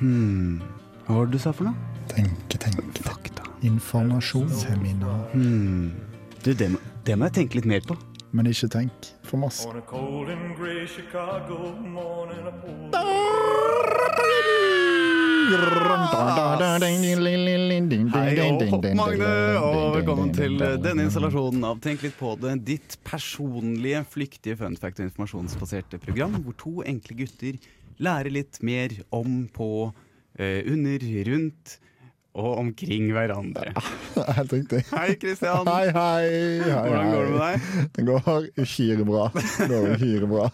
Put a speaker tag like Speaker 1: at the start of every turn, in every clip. Speaker 1: Hmm. Hva var det du sa for noe?
Speaker 2: Tenke, tenke, tenke.
Speaker 1: Fakta.
Speaker 2: Informasjon, seminar.
Speaker 1: Hmm. Du, det må, det må jeg tenke litt mer på.
Speaker 2: Men ikke tenk for masse.
Speaker 3: On a cold and gray Chicago morning, I pulled
Speaker 1: Hei og hopp, Magne, og velkommen til eh, denne
Speaker 2: installasjonen.
Speaker 1: installasjonen av Tenk litt på det. Ditt personlige, flyktige fun fact- og informasjonsbaserte program hvor to enkle gutter lærer litt mer om, på, eh, under, rundt og omkring hverandre.
Speaker 2: Helt riktig.
Speaker 1: Hei, Kristian.
Speaker 2: Hei, hei, hei, hei.
Speaker 1: Hvordan går det med deg?
Speaker 2: Det går uhyre bra. Det går uhyre bra.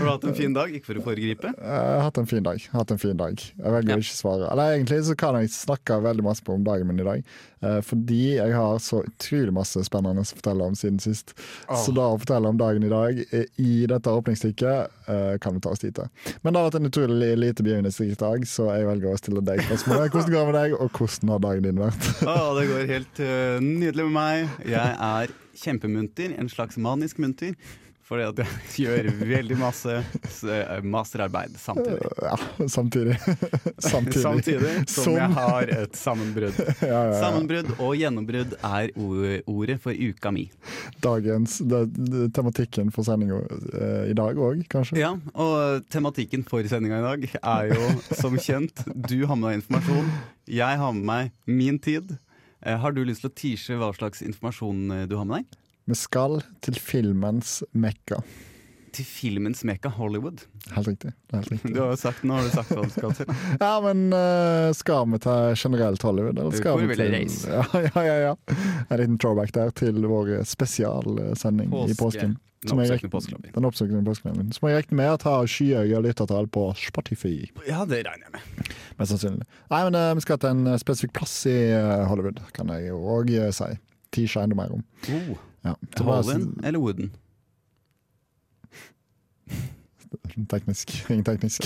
Speaker 1: Har du hatt en fin dag? Ikke for å foregripe.
Speaker 2: Jeg har hatt en fin dag. Hatt en fin dag. Jeg velger å ikke svare. Eller egentlig så kan jeg snakke veldig masse på om dagen min i dag, eh, fordi jeg har så utrolig masse spennende å fortelle om siden sist. Så da å fortelle om dagen i dag eh, i dette åpningsstykket eh, kan vi ta oss tid til. Men det har vært en utrolig lite begivenhetsrik dag, så jeg velger å stille deg spørsmålet. Hvordan går det med deg, og hvordan har dagen din vært?
Speaker 1: Å, det går helt eh, nydelig med meg. Jeg er kjempemunter, en slags manisk munter. Fordi at jeg gjør veldig masse s- eh, masterarbeid samtidig.
Speaker 2: Ja, samtidig. samtidig.
Speaker 1: Samtidig som,
Speaker 2: Som-
Speaker 1: jeg har et sammenbrudd. Sammenbrudd og gjennombrudd er o- ordet for uka mi.
Speaker 2: Dagens, det, det, tematikken for sendinga eh, i dag òg, kanskje?
Speaker 1: Ja, Og tematikken for sendinga i dag er jo som kjent du har med deg informasjon, jeg har med meg min tid. Eh, Har du lyst til å tease hva slags informasjon eh, du har med deg?
Speaker 2: Vi skal til filmens mekka.
Speaker 1: Til filmens mekka Hollywood.
Speaker 2: Helt riktig. det er Helt riktig.
Speaker 1: Du har jo sagt, nå har du sagt hva du skal til.
Speaker 2: Ja, men eh, skal vi til generelt Hollywood, eller
Speaker 1: Det
Speaker 2: skal
Speaker 1: får
Speaker 2: vi
Speaker 1: vi vel
Speaker 2: til
Speaker 1: reise.
Speaker 2: ja, ja, ja, ja. En liten throwback der til vår spesialsending i påsken.
Speaker 1: Den
Speaker 2: Som jeg
Speaker 1: oppsøkende
Speaker 2: rek-
Speaker 1: påskelobby.
Speaker 2: Den oppsøkende påskeløven. Som jeg regner med at har skyhøye lyttertall på Spotify.
Speaker 1: Ja, det regner jeg med.
Speaker 2: Mest sannsynlig. Nei, men eh, vi skal til en eh, spesifikk plass i eh, Hollywood, kan jeg jo òg si. Tisha enda mer om.
Speaker 1: Oh,
Speaker 2: Ja. Så bare
Speaker 1: Holden eller Wooden?
Speaker 2: s- Teknisk. Ingen teknisk.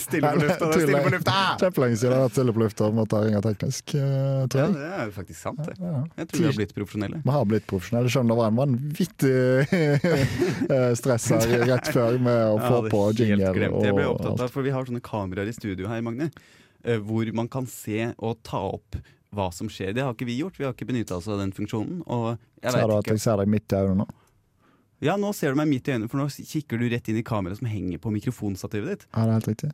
Speaker 1: Stille på lufta, det er stille på lufta!
Speaker 2: Kjempelenge siden det har vært stille på lufta om at det ringer teknisk, eh, tror
Speaker 1: Ja,
Speaker 2: jeg.
Speaker 1: det er jo faktisk sant, det.
Speaker 2: Ja.
Speaker 1: Jeg tror vi har blitt profesjonelle.
Speaker 2: Vi har blitt profesjonelle, selv om det var en vanvittig eh, stress her rett før med å
Speaker 1: Jeg
Speaker 2: få
Speaker 1: hadde
Speaker 2: på
Speaker 1: helt
Speaker 2: jingle.
Speaker 1: glemt. Jeg ble
Speaker 2: og
Speaker 1: opptatt
Speaker 2: alt.
Speaker 1: av, for vi har sånne kameraer i studio her, Magne, eh, hvor man kan se og ta opp hva som skjer. Det har ikke vi gjort, vi har ikke benytta oss av den funksjonen. Og jeg
Speaker 2: Ser
Speaker 1: vet
Speaker 2: du at
Speaker 1: ikke.
Speaker 2: jeg ser deg midt i øynene nå?
Speaker 1: Ja, nå ser du meg midt i øynene, for nå kikker du rett inn i kameraet som henger på mikrofonstativet ditt.
Speaker 2: Ja, det er helt riktig.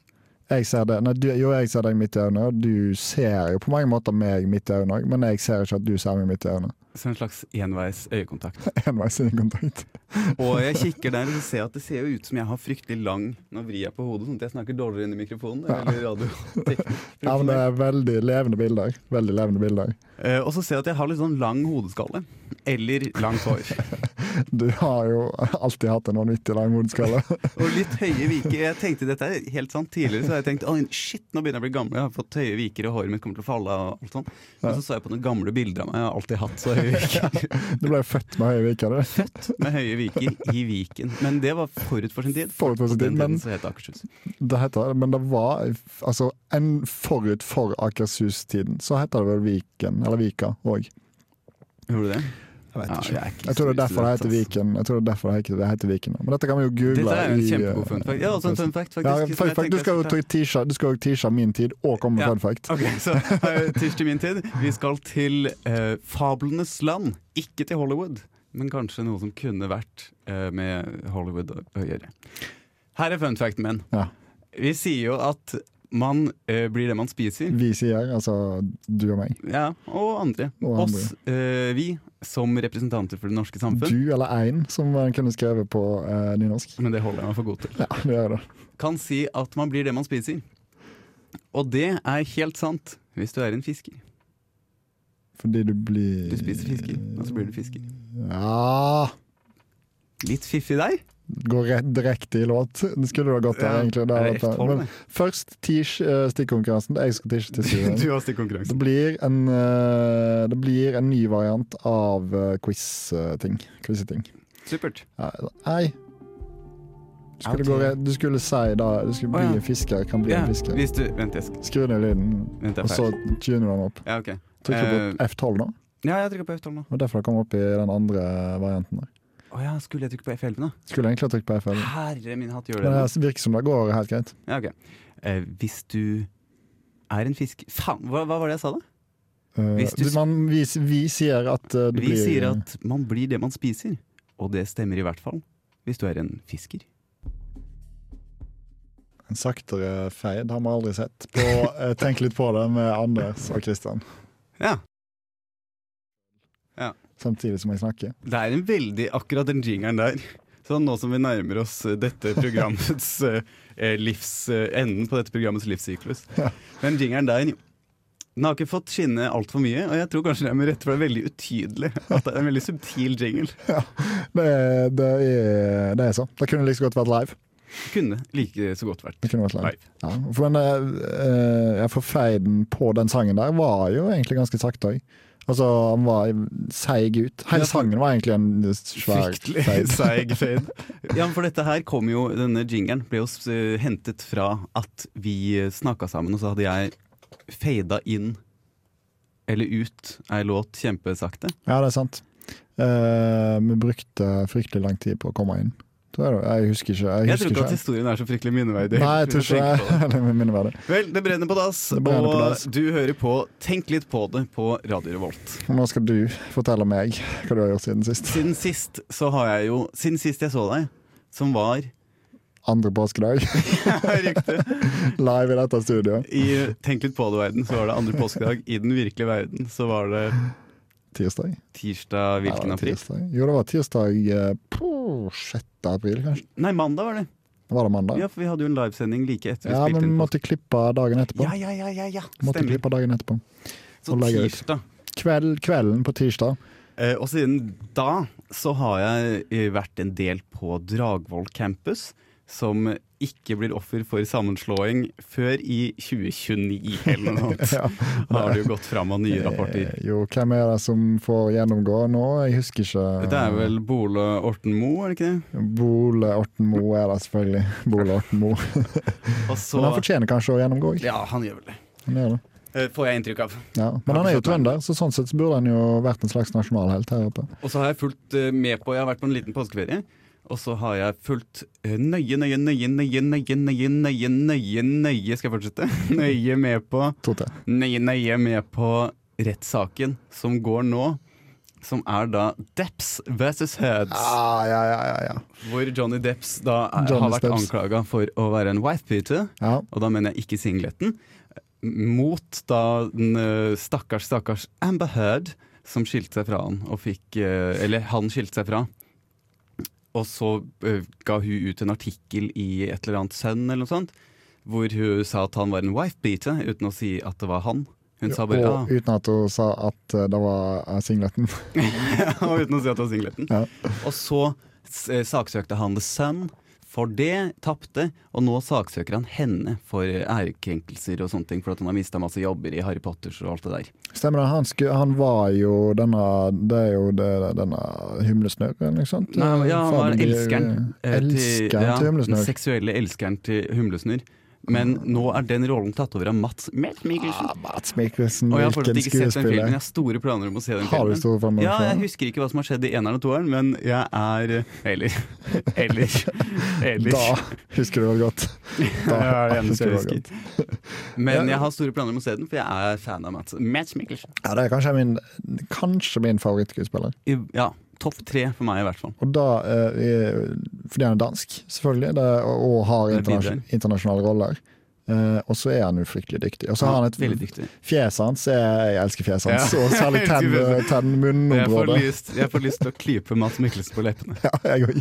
Speaker 2: Jeg ser det. Nei, du, jo, jeg ser deg midt i øynene, og du ser jo på mange måter meg midt i øynene òg, men jeg ser ikke at du ser meg midt i øynene.
Speaker 1: Så en slags enveis øyekontakt.
Speaker 2: Enveis øyekontakt.
Speaker 1: Og jeg kikker der og så ser jeg at det ser jo ut som jeg har fryktelig lang Nå vrir jeg på hodet sånn at jeg snakker dårligere inn i mikrofonen. Eller
Speaker 2: Ja, men det
Speaker 1: radioteknikk.
Speaker 2: er veldig levende bilder. Veldig levende bilder.
Speaker 1: Eh, Og så ser jeg at jeg har litt sånn lang hodeskalle. Eller langt hår.
Speaker 2: Du har jo alltid hatt en vanvittig lang hodeskalle.
Speaker 1: Og litt høye viker. Jeg tenkte dette er helt sant Tidligere så har jeg tenkt «Oi, shit, nå begynner jeg å bli gammel. Jeg har fått høye viker, og håret mitt kommer til å falle. av», Og alt sånt. Men så så jeg på noen gamle bilder av meg. Jeg har alltid hatt så høye viker.
Speaker 2: Du ble født med høye viker, du.
Speaker 1: Født med høye viker i Viken. Men det var forut for sin tid.
Speaker 2: Forut for sin tid,
Speaker 1: Den
Speaker 2: men-
Speaker 1: tiden så het det Akershus.
Speaker 2: Det heter det, men det var altså en forut for Akershus-tiden, så heter det vel Viken, eller Vika òg.
Speaker 1: Gjorde du det?
Speaker 2: Jeg vet
Speaker 1: Ja,
Speaker 2: ikke.
Speaker 1: jeg er ikke
Speaker 2: Jeg tror det er
Speaker 1: så
Speaker 2: derfor det heter
Speaker 1: student, ass.
Speaker 2: Viken. Jeg tror det er derfor det heter, det heter Viken nå. Men dette kan vi jo google.
Speaker 1: altså. Dette er jo en
Speaker 2: i,
Speaker 1: kjempegod fun
Speaker 2: eh,
Speaker 1: fact. Ja, også en fun fact, faktisk.
Speaker 2: Ja,
Speaker 1: som jeg
Speaker 2: fun fact.
Speaker 1: tenkte
Speaker 2: Du skal jo
Speaker 1: jeg skulle ta.
Speaker 2: ta- teache- du skal jo teache min tid og komme med
Speaker 1: Ja.
Speaker 2: fun fact.
Speaker 1: Ok, så eh, tirsdag til min tid. Vi skal til eh, fablenes land. Ikke til Hollywood, men kanskje noe som kunne vært eh, med Hollywood å, å gjøre. Her er fun facten min.
Speaker 2: Ja.
Speaker 1: Vi sier jo at man eh, blir det man spiser.
Speaker 2: Vi sier, altså du og meg.
Speaker 1: Ja, og andre.
Speaker 2: Og andre.
Speaker 1: Oss, eh, vi, som representanter for det norske samfunn.
Speaker 2: Du eller ein, som man kunne skrevet på eh, nynorsk.
Speaker 1: Men det holder jeg meg for god til.
Speaker 2: Ja, det gjør det.
Speaker 1: Kan si at man blir det man spiser. Og det er helt sant hvis du er en fisker.
Speaker 2: Fordi du blir
Speaker 1: Du spiser fisker, og så blir du fisker.
Speaker 2: Ja
Speaker 1: Litt fiffig der.
Speaker 2: Går rett direkte i låt. Det skulle du ha gått der,
Speaker 1: Ja,
Speaker 2: egentlig. Det
Speaker 1: det
Speaker 2: har
Speaker 1: er
Speaker 2: vært
Speaker 1: helt
Speaker 2: det.
Speaker 1: holdt,
Speaker 2: Men
Speaker 1: det.
Speaker 2: først tish eh, stikkonkurransen. Jeg skal tisje til
Speaker 1: Du
Speaker 2: siden.
Speaker 1: har stikkonkurransen.
Speaker 2: Det blir en eh, Det blir en ny variant av eh, quiz-ting. Quiz-ting.
Speaker 1: Supert.
Speaker 2: Ja, Nei. Du skulle, gå, rett- du skulle si da Du skulle
Speaker 1: Å, ja.
Speaker 2: bli en fisker. Kan bli
Speaker 1: Ja,
Speaker 2: en fisker.
Speaker 1: hvis du Vent, jeg skal
Speaker 2: Skru ned lyden,
Speaker 1: Vent, det
Speaker 2: og
Speaker 1: er
Speaker 2: så
Speaker 1: feil.
Speaker 2: tuner du den opp.
Speaker 1: Ja, ok.
Speaker 2: Trykk på
Speaker 1: Eh,
Speaker 2: F12 nå.
Speaker 1: ja, jeg trykker på F12 nå.
Speaker 2: Det var derfor det kom opp i den andre varianten. der.
Speaker 1: Å ja, skulle jeg trykke på F11 nå?
Speaker 2: Skulle egentlig ha trykt på F11,
Speaker 1: Herre min hatt, gjør
Speaker 2: men
Speaker 1: det nå?
Speaker 2: det virker som det går helt greit.
Speaker 1: Ja, ok. Eh, hvis du er en fisk... Faen, hva, hva var det jeg sa da?
Speaker 2: Eh,
Speaker 1: Hvis du-
Speaker 2: du- man, vi, vi sier at eh, du
Speaker 1: Vi
Speaker 2: blir
Speaker 1: sier at man blir det man spiser, og det stemmer i hvert fall hvis du er en fisker.
Speaker 2: en saktere feil. Det har vi aldri sett. På, eh, tenk litt på det med Anders og Kristian,
Speaker 1: Ja.
Speaker 2: samtidig som jeg snakker.
Speaker 1: Det er en veldig akkurat den jingeren der. Sånn nå som vi nærmer oss eh, dette programmets eh, eh, livs, eh, enden på dette programmets livssyklus.
Speaker 2: Ja.
Speaker 1: Den jingeren der den har ikke fått skinne altfor mye, og jeg tror kanskje det er med rette, for det er veldig utydelig. At det er en veldig subtil jingle.
Speaker 2: Det, er- det, er, det er så. Det kunne like så godt vært live.
Speaker 1: Kunne like så godt vært
Speaker 2: Det kunne vært live.
Speaker 1: live.
Speaker 2: Ja, for, men, eh, ja, for feiden på den sangen der var jo egentlig ganske sakte òg. Altså, han var seig ut.
Speaker 1: Ja,
Speaker 2: Hele
Speaker 1: for-
Speaker 2: sangen var egentlig en svær
Speaker 1: Fryktelig
Speaker 2: feid.
Speaker 1: seig fade. Ja, men for dette her kom jo, denne jingeren ble jo s- eh, hentet fra at vi eh, snakka sammen, og så hadde jeg fada inn eller ut ei låt kjempesakte.
Speaker 2: Ja, det er sant. Eh, vi brukte fryktelig lang tid på å komme inn. Tror jeg, da. jeg husker ikke. Jeg
Speaker 1: Jeg
Speaker 2: husker
Speaker 1: tror ikke at historien er så fryktelig minneverdig.
Speaker 2: Nei, jeg tror
Speaker 1: Hvis jeg tenker på
Speaker 2: ikke det. det. minner meg det.
Speaker 1: det. Vel, det brenner på dass,
Speaker 2: Det brenner på
Speaker 1: og
Speaker 2: dass.
Speaker 1: du hører på Tenk litt på det på Radio Revolt.
Speaker 2: Nå skal du fortelle meg hva du har gjort siden sist.
Speaker 1: Siden sist så har jeg jo Siden sist jeg så deg, som var
Speaker 2: Andre påskedag,
Speaker 1: Riktig.
Speaker 2: live i dette studioet.
Speaker 1: I Tenk litt på det-verden så var det andre påskedag. I den virkelige verden så var det
Speaker 2: Tirsdag?
Speaker 1: Tirsdag
Speaker 2: Nei, det
Speaker 1: hvilken
Speaker 2: var
Speaker 1: april?
Speaker 2: tirsdag. Jo, det var tirsdag eh, på 6. april, kanskje.
Speaker 1: Nei, mandag var det.
Speaker 2: Var det mandag?
Speaker 1: Ja, for vi hadde jo en livesending like etter vi
Speaker 2: Ja,
Speaker 1: spilte
Speaker 2: men
Speaker 1: inn.
Speaker 2: vi
Speaker 1: på-
Speaker 2: måtte klippe dagen etterpå.
Speaker 1: Ja, ja, ja, ja, ja.
Speaker 2: måtte
Speaker 1: stemmer.
Speaker 2: klippe dagen etterpå.
Speaker 1: Så
Speaker 2: og legge ut.
Speaker 1: tirsdag.
Speaker 2: Kveld, kvelden på tirsdag.
Speaker 1: Eh, og siden da så har jeg eh, vært en del på Dragvoll campus, som ikke blir offer for sammenslåing før i 2029 eller noe sånt.
Speaker 2: Ja.
Speaker 1: Da har det jo gått fram av nye rapporter.
Speaker 2: Eh, Jo, hvem er det som får gjennomgå nå? Jeg husker ikke.
Speaker 1: Det er vel Bole Orten Moe, er det ikke det?
Speaker 2: Bole Orten Moe er det selvfølgelig. Bole Orten Moe.
Speaker 1: Og
Speaker 2: Men han
Speaker 1: så
Speaker 2: fortjener kanskje å gjennomgå. ikke?
Speaker 1: Ja, han gjør vel det.
Speaker 2: Han gjør det.
Speaker 1: Eh, Får jeg inntrykk av.
Speaker 2: Ja. Men han er jo trønder, så sånn sett så burde han jo vært en slags nasjonalhelt her oppe.
Speaker 1: Og så har jeg fulgt eh, med på Jeg har vært på en liten påskeferie. Og så har jeg fulgt eh, nøye, nøye, nøye, nøye, nøye, nøye, nøye, nøye, nøye Skal jeg fortsette? Nøye med på
Speaker 2: Tote.
Speaker 1: Nøye, nøye med på rettssaken som går nå. Som er da Depps versus Heads.
Speaker 2: Ah, ja, ja, ja, ja.
Speaker 1: Hvor Johnny Depps da er,
Speaker 2: Johnny
Speaker 1: har vært
Speaker 2: Depps.
Speaker 1: anklaga for å være en wife-beater.
Speaker 2: ja.
Speaker 1: Og da mener jeg ikke singleten. Mot da den eh, stakkars, stakkars Amber Heard, som skilte seg fra han, og fikk eh, Eller han skilte seg fra. Og så eh, ga hun ut en artikkel i et eller annet Sun eller noe sånt, hvor hun sa at han var en wife-beater, uten å si at det var han. Hun sa bare ah,
Speaker 2: Og uten at hun sa at eh, det var eh, singleten.
Speaker 1: ja, og uten å si at det var singleten.
Speaker 2: Ja.
Speaker 1: Og så s- eh, saksøkte han The Sun for det, tapte, og nå saksøker han henne for eh, ærekrenkelser og sånne ting, for at han har mista masse jobber i Harry Potters og alt det der.
Speaker 2: Stemmer det. Han, sku, han var jo denne Det er jo det, denne Humlesnurren, ikke sant?
Speaker 1: Nei, han- ja, han var
Speaker 2: Fader, de-
Speaker 1: elskeren. eh,
Speaker 2: Elskeren til,
Speaker 1: ja, Den
Speaker 2: Humlesnurr.
Speaker 1: seksuelle elskeren til Humlesnurr. Men nå er den rollen tatt over av Mats Mats Mikkelsen.
Speaker 2: Ah, Mats Mikkelsen,
Speaker 1: Og jeg har fortsatt
Speaker 2: hvilken
Speaker 1: ikke sett den filmen. Jeg
Speaker 2: skuespiller.
Speaker 1: har store planer om å se den
Speaker 2: Har du
Speaker 1: filmen.
Speaker 2: store filmer?
Speaker 1: Ja, jeg husker ikke hva som har skjedd i eneren og toeren, men jeg er eh, Eller. Eller. Eller.
Speaker 2: Da husker du det godt.
Speaker 1: Ja, det
Speaker 2: Da
Speaker 1: er det eneste
Speaker 2: husker du
Speaker 1: jeg
Speaker 2: det godt.
Speaker 1: husker. Men jeg har store planer om å se den, for jeg er fan av Mats, Mats Mikkelsen.
Speaker 2: Ja, det er kanskje min, kanskje min favorittskuespiller.
Speaker 1: I, ja, topp tre for meg, i hvert fall.
Speaker 2: Og da, eh, eh, fordi han er dansk, selvfølgelig, det, og, og har
Speaker 1: Det bidrar.
Speaker 2: internasjon- internasjonale roller. Eh, og så er han jo fryktelig dyktig. Og så har han
Speaker 1: Veldig
Speaker 2: et
Speaker 1: dyktig.
Speaker 2: Fjeset hans er Jeg elsker fjeset hans.
Speaker 1: Ja.
Speaker 2: Og særlig
Speaker 1: Jeg elsker
Speaker 2: tenn,
Speaker 1: fjeset.
Speaker 2: tenn
Speaker 1: Jeg får,
Speaker 2: munnområdet.
Speaker 1: lyst, jeg får lyst til å klype Mats Mikkelsen på leppene.
Speaker 2: Ja, jeg òg.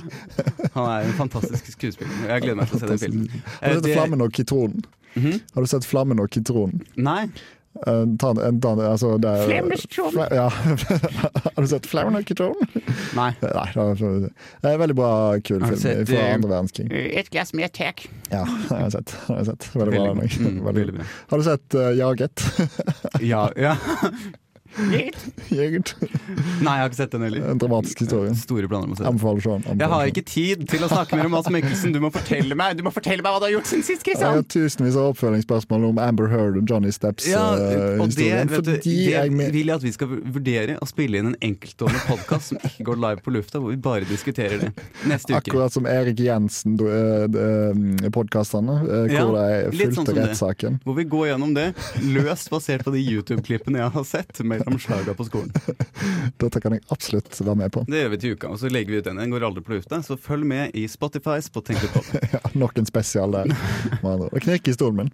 Speaker 1: Han er en fantastisk skuespiller. Jeg gleder meg til å se den filmen.
Speaker 2: Har
Speaker 1: Eh,
Speaker 2: du sett
Speaker 1: det-
Speaker 2: Flammen og Kitronen?
Speaker 1: Mhm.
Speaker 2: Har du sett Flammen og Kitronen?
Speaker 1: Nei,
Speaker 2: Eh, ta en- en- ta en- altså, det er- Fla- Ja. Har du sett Flammen og Kitronen?
Speaker 1: nei.
Speaker 2: Nei. Det er, det er en veldig bra, kul
Speaker 1: Har
Speaker 2: film
Speaker 1: du sett,
Speaker 2: fra
Speaker 1: eh,
Speaker 2: andre verdenskrig.
Speaker 4: Et glass mer, takk.
Speaker 2: Ja, det har jeg sett. Det Har jeg sett. Veldig,
Speaker 1: Veldig,
Speaker 2: bra. den
Speaker 1: god.
Speaker 2: også.
Speaker 1: mm,
Speaker 2: Veldig.
Speaker 1: veldig bra.
Speaker 2: Har du sett eh, Jaget?
Speaker 1: Ja, ja.
Speaker 2: Jegert.
Speaker 1: Nei, jeg har ikke sett den heller.
Speaker 2: En dramatisk historie.
Speaker 1: Store planer om å se den.
Speaker 2: Anbefaler å se den. anbefaler
Speaker 1: Jeg har
Speaker 2: å se den.
Speaker 1: ikke tid til å snakke mer om Mads Mikkelsen. Du må fortelle meg Du må fortelle meg hva du har gjort siden sist,
Speaker 2: Jeg har
Speaker 1: Kristian!
Speaker 2: tusenvis av oppfølgingsspørsmål om Amber Heard og Johnny
Speaker 1: Ja, og det,
Speaker 2: Steps-historien.
Speaker 1: vet du,
Speaker 2: fordi
Speaker 1: det
Speaker 2: jeg med,
Speaker 1: vil jeg at vi skal vurdere å spille inn en enkeltstående podkast som ikke går live på lufta, hvor vi bare diskuterer det neste uke.
Speaker 2: akkurat som Erik eh, Jensen-podkastene,
Speaker 1: Ja,
Speaker 2: eh, hvor de
Speaker 1: litt sånn som
Speaker 2: fulgte
Speaker 1: det.
Speaker 2: rettssaken.
Speaker 1: Hvor vi går gjennom det løst basert på de YouTube-klippene jeg har sett mellom slaga på skolen.
Speaker 2: Dette kan jeg absolutt være med på.
Speaker 1: Det gjør vi til uka, og så legger vi ut den. Den går aldri på lufta, så følg med i Spotify. Spot Tenk litt på det.
Speaker 2: Ja, nok en spesial der. med andre ord. Det knirker i stolen min.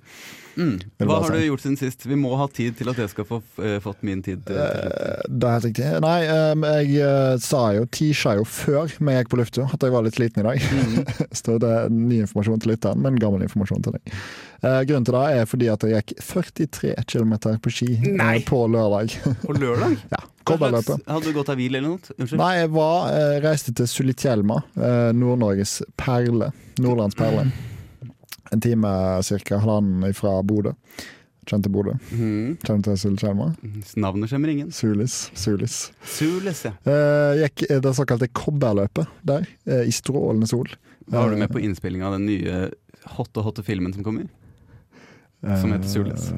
Speaker 2: Vil
Speaker 1: Hva
Speaker 2: bare
Speaker 1: har
Speaker 2: si.
Speaker 1: du gjort siden sist? Vi må ha tid til at jeg skal få eh, fått min tid. til- til slutt.
Speaker 2: Eh, Det er helt riktig. Nei, ehm, jeg eh, sa jo, teasa jo før vi gikk på lufta at jeg var litt sliten i dag.
Speaker 1: Mhm.
Speaker 2: Så det er ny informasjon til lytteren, men gammel informasjon til deg. Eh, Grunnen til det er fordi at jeg gikk 43 km på ski eh,
Speaker 1: Nei.
Speaker 2: på lørdag.
Speaker 1: På lørdag? Hva
Speaker 2: ja,
Speaker 1: slags-
Speaker 2: Kobberløpet.
Speaker 1: Hadde du gått av hvil eller noe? Unnskyld?
Speaker 2: Nei, jeg var, eh, reiste til Sulitjelma, eh, Nord-Norges perle. Nordlands perle. En time ca. halvannen fra Bodø. Kjente Bodø.
Speaker 1: Mhm.
Speaker 2: Kjente Sulitjelma.
Speaker 1: Navnet skjemmer ingen.
Speaker 2: Sulis. Sulis.
Speaker 1: Sules, ja.
Speaker 2: Eh, gikk det såkalte kobberløpet der, eh, i strålende sol.
Speaker 1: Var du med på innspillinga av den nye hotte, hotte filmen som kommer?
Speaker 2: Eh,
Speaker 1: som heter Sulis?
Speaker 2: eh,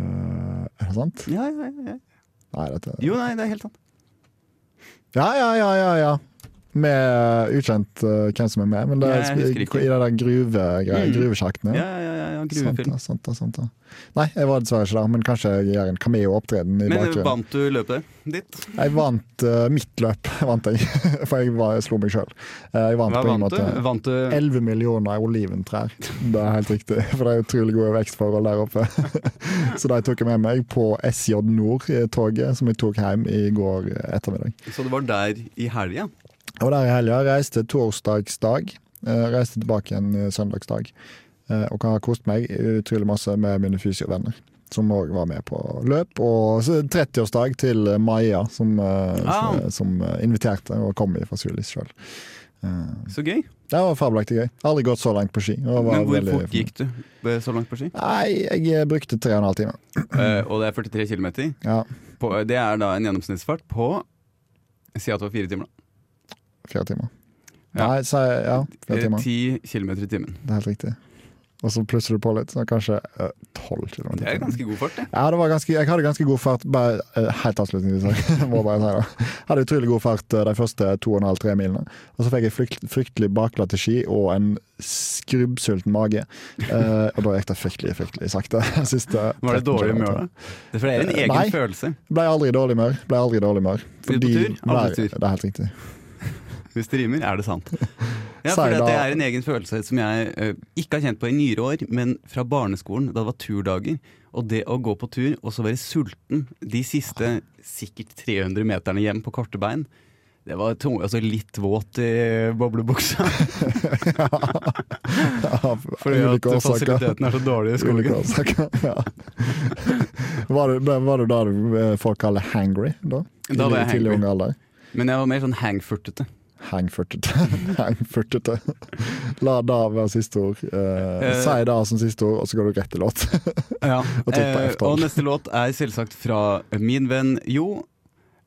Speaker 2: er det sant?
Speaker 1: Ja, ja, ja, ja.
Speaker 2: Nei, dette
Speaker 1: Jo, nei, det er helt sant.
Speaker 2: Ja, ja, ja, ja. ja. Med ukjent eh, hvem som er med, men det
Speaker 1: Nei, jeg husker
Speaker 2: er
Speaker 1: ikke.
Speaker 2: i de der gruve,
Speaker 1: Mm.
Speaker 2: gruvesjaktene.
Speaker 1: Ja, ja, ja, ja, ja
Speaker 2: Sant
Speaker 1: Gruvefilm.
Speaker 2: da, sant da, sant da. Nei, jeg var dessverre ikke der, men kanskje jeg gjør en cameo-opptreden i
Speaker 1: Men eh,
Speaker 2: bakgrunnen.
Speaker 1: vant du løpet ditt?
Speaker 2: Jeg vant eh, mitt løp, vant jeg, for jeg, var, jeg slo meg sjøl. jeg vant
Speaker 1: Hva
Speaker 2: på en
Speaker 1: vant
Speaker 2: måte
Speaker 1: du? Vant du
Speaker 2: 11 millioner oliventrær. Det er helt riktig, for det er utrolig gode vekstforhold der oppe. Så de tok jeg med meg på SJ Nord-toget, eh, som jeg tok hjem i går ettermiddag.
Speaker 1: Så det var der i helga?
Speaker 2: Og der i helga reiste torsdagsdag. eh, Reiste tilbake igjen eh, søndagsdag. Eh, Og har kost meg utrolig masse med mine fysiovenner. Som òg var med på løp. Og så 30-årsdag til eh, Maja, som, eh,
Speaker 1: Ah.
Speaker 2: som eh, inviterte og kom fra Sulis sjøl. Eh,
Speaker 1: Så gøy.
Speaker 2: Det var fabelaktig gøy. Aldri gått så langt på ski. og var
Speaker 1: Men hvor
Speaker 2: veldig
Speaker 1: fort gikk du eh, så langt på ski?
Speaker 2: Nei, jeg brukte tre og en halv time.
Speaker 1: Eh, og det er 43 km.
Speaker 2: Ja,
Speaker 1: eh, Det er da en gjennomsnittsfart på Si at det var fire timer, da.
Speaker 2: fire timer.
Speaker 1: Ja.
Speaker 2: Nei, så, ja, fire
Speaker 1: Eh,
Speaker 2: timer.
Speaker 1: Ti kilometer i timen.
Speaker 2: Det er helt riktig. Og så plusser du på litt, så kanskje eh, tolv kilometer.
Speaker 1: Det er ganske god fart, det.
Speaker 2: Ja, det var ganske, jeg hadde ganske god fart bare, eh, Helt avslutningsvis her, må bare si det. Hadde utrolig god fart eh, de første 2,5-3 milene. Og så fikk jeg frykt, fryktelig baklatte ski og en skrubbsulten mage. Eh, og da gikk det fryktelig, fryktelig sakte. Siste
Speaker 1: Var det
Speaker 2: 13
Speaker 1: dårlig
Speaker 2: kilometer.
Speaker 1: humør, da? Det er for det er en
Speaker 2: Eh,
Speaker 1: egen
Speaker 2: nei.
Speaker 1: følelse.
Speaker 2: Ble aldri i dårlig humør. Ble aldri i dårlig humør.
Speaker 1: på tur, aldri
Speaker 2: Nei,
Speaker 1: sur.
Speaker 2: Det er helt riktig.
Speaker 1: Hvis det rimer, er det sant. Ja,
Speaker 2: Sier
Speaker 1: for det
Speaker 2: da-
Speaker 1: er en egen følelse som jeg eh, ikke har kjent på i nyere år, men fra barneskolen, da det var turdager. Og det å gå på tur og så være sulten de siste sikkert 300 meterne hjem på korte bein, det var tung, altså litt våt i boblebuksa.
Speaker 2: Av
Speaker 1: Fordi at
Speaker 2: ulike årsaker.
Speaker 1: fasiliteten er så dårlig i skogen.
Speaker 2: Ulike årsaker, ja. Var du, ble- var du da du, eh, folk kaller hangry? Da,
Speaker 1: Da var jeg
Speaker 2: Tidlig- tidlig
Speaker 1: hangry.
Speaker 2: ung alder.
Speaker 1: Men jeg var mer sånn hangfurtete.
Speaker 2: Hangfurtete. Hangfurtete. La da være siste ord. Eh,
Speaker 1: Eh.
Speaker 2: si da som siste ord, og så går du rett til låt.
Speaker 1: Ja.
Speaker 2: Og trykker på
Speaker 1: Eh,
Speaker 2: F12.
Speaker 1: og neste låt er selvsagt fra min venn Jo.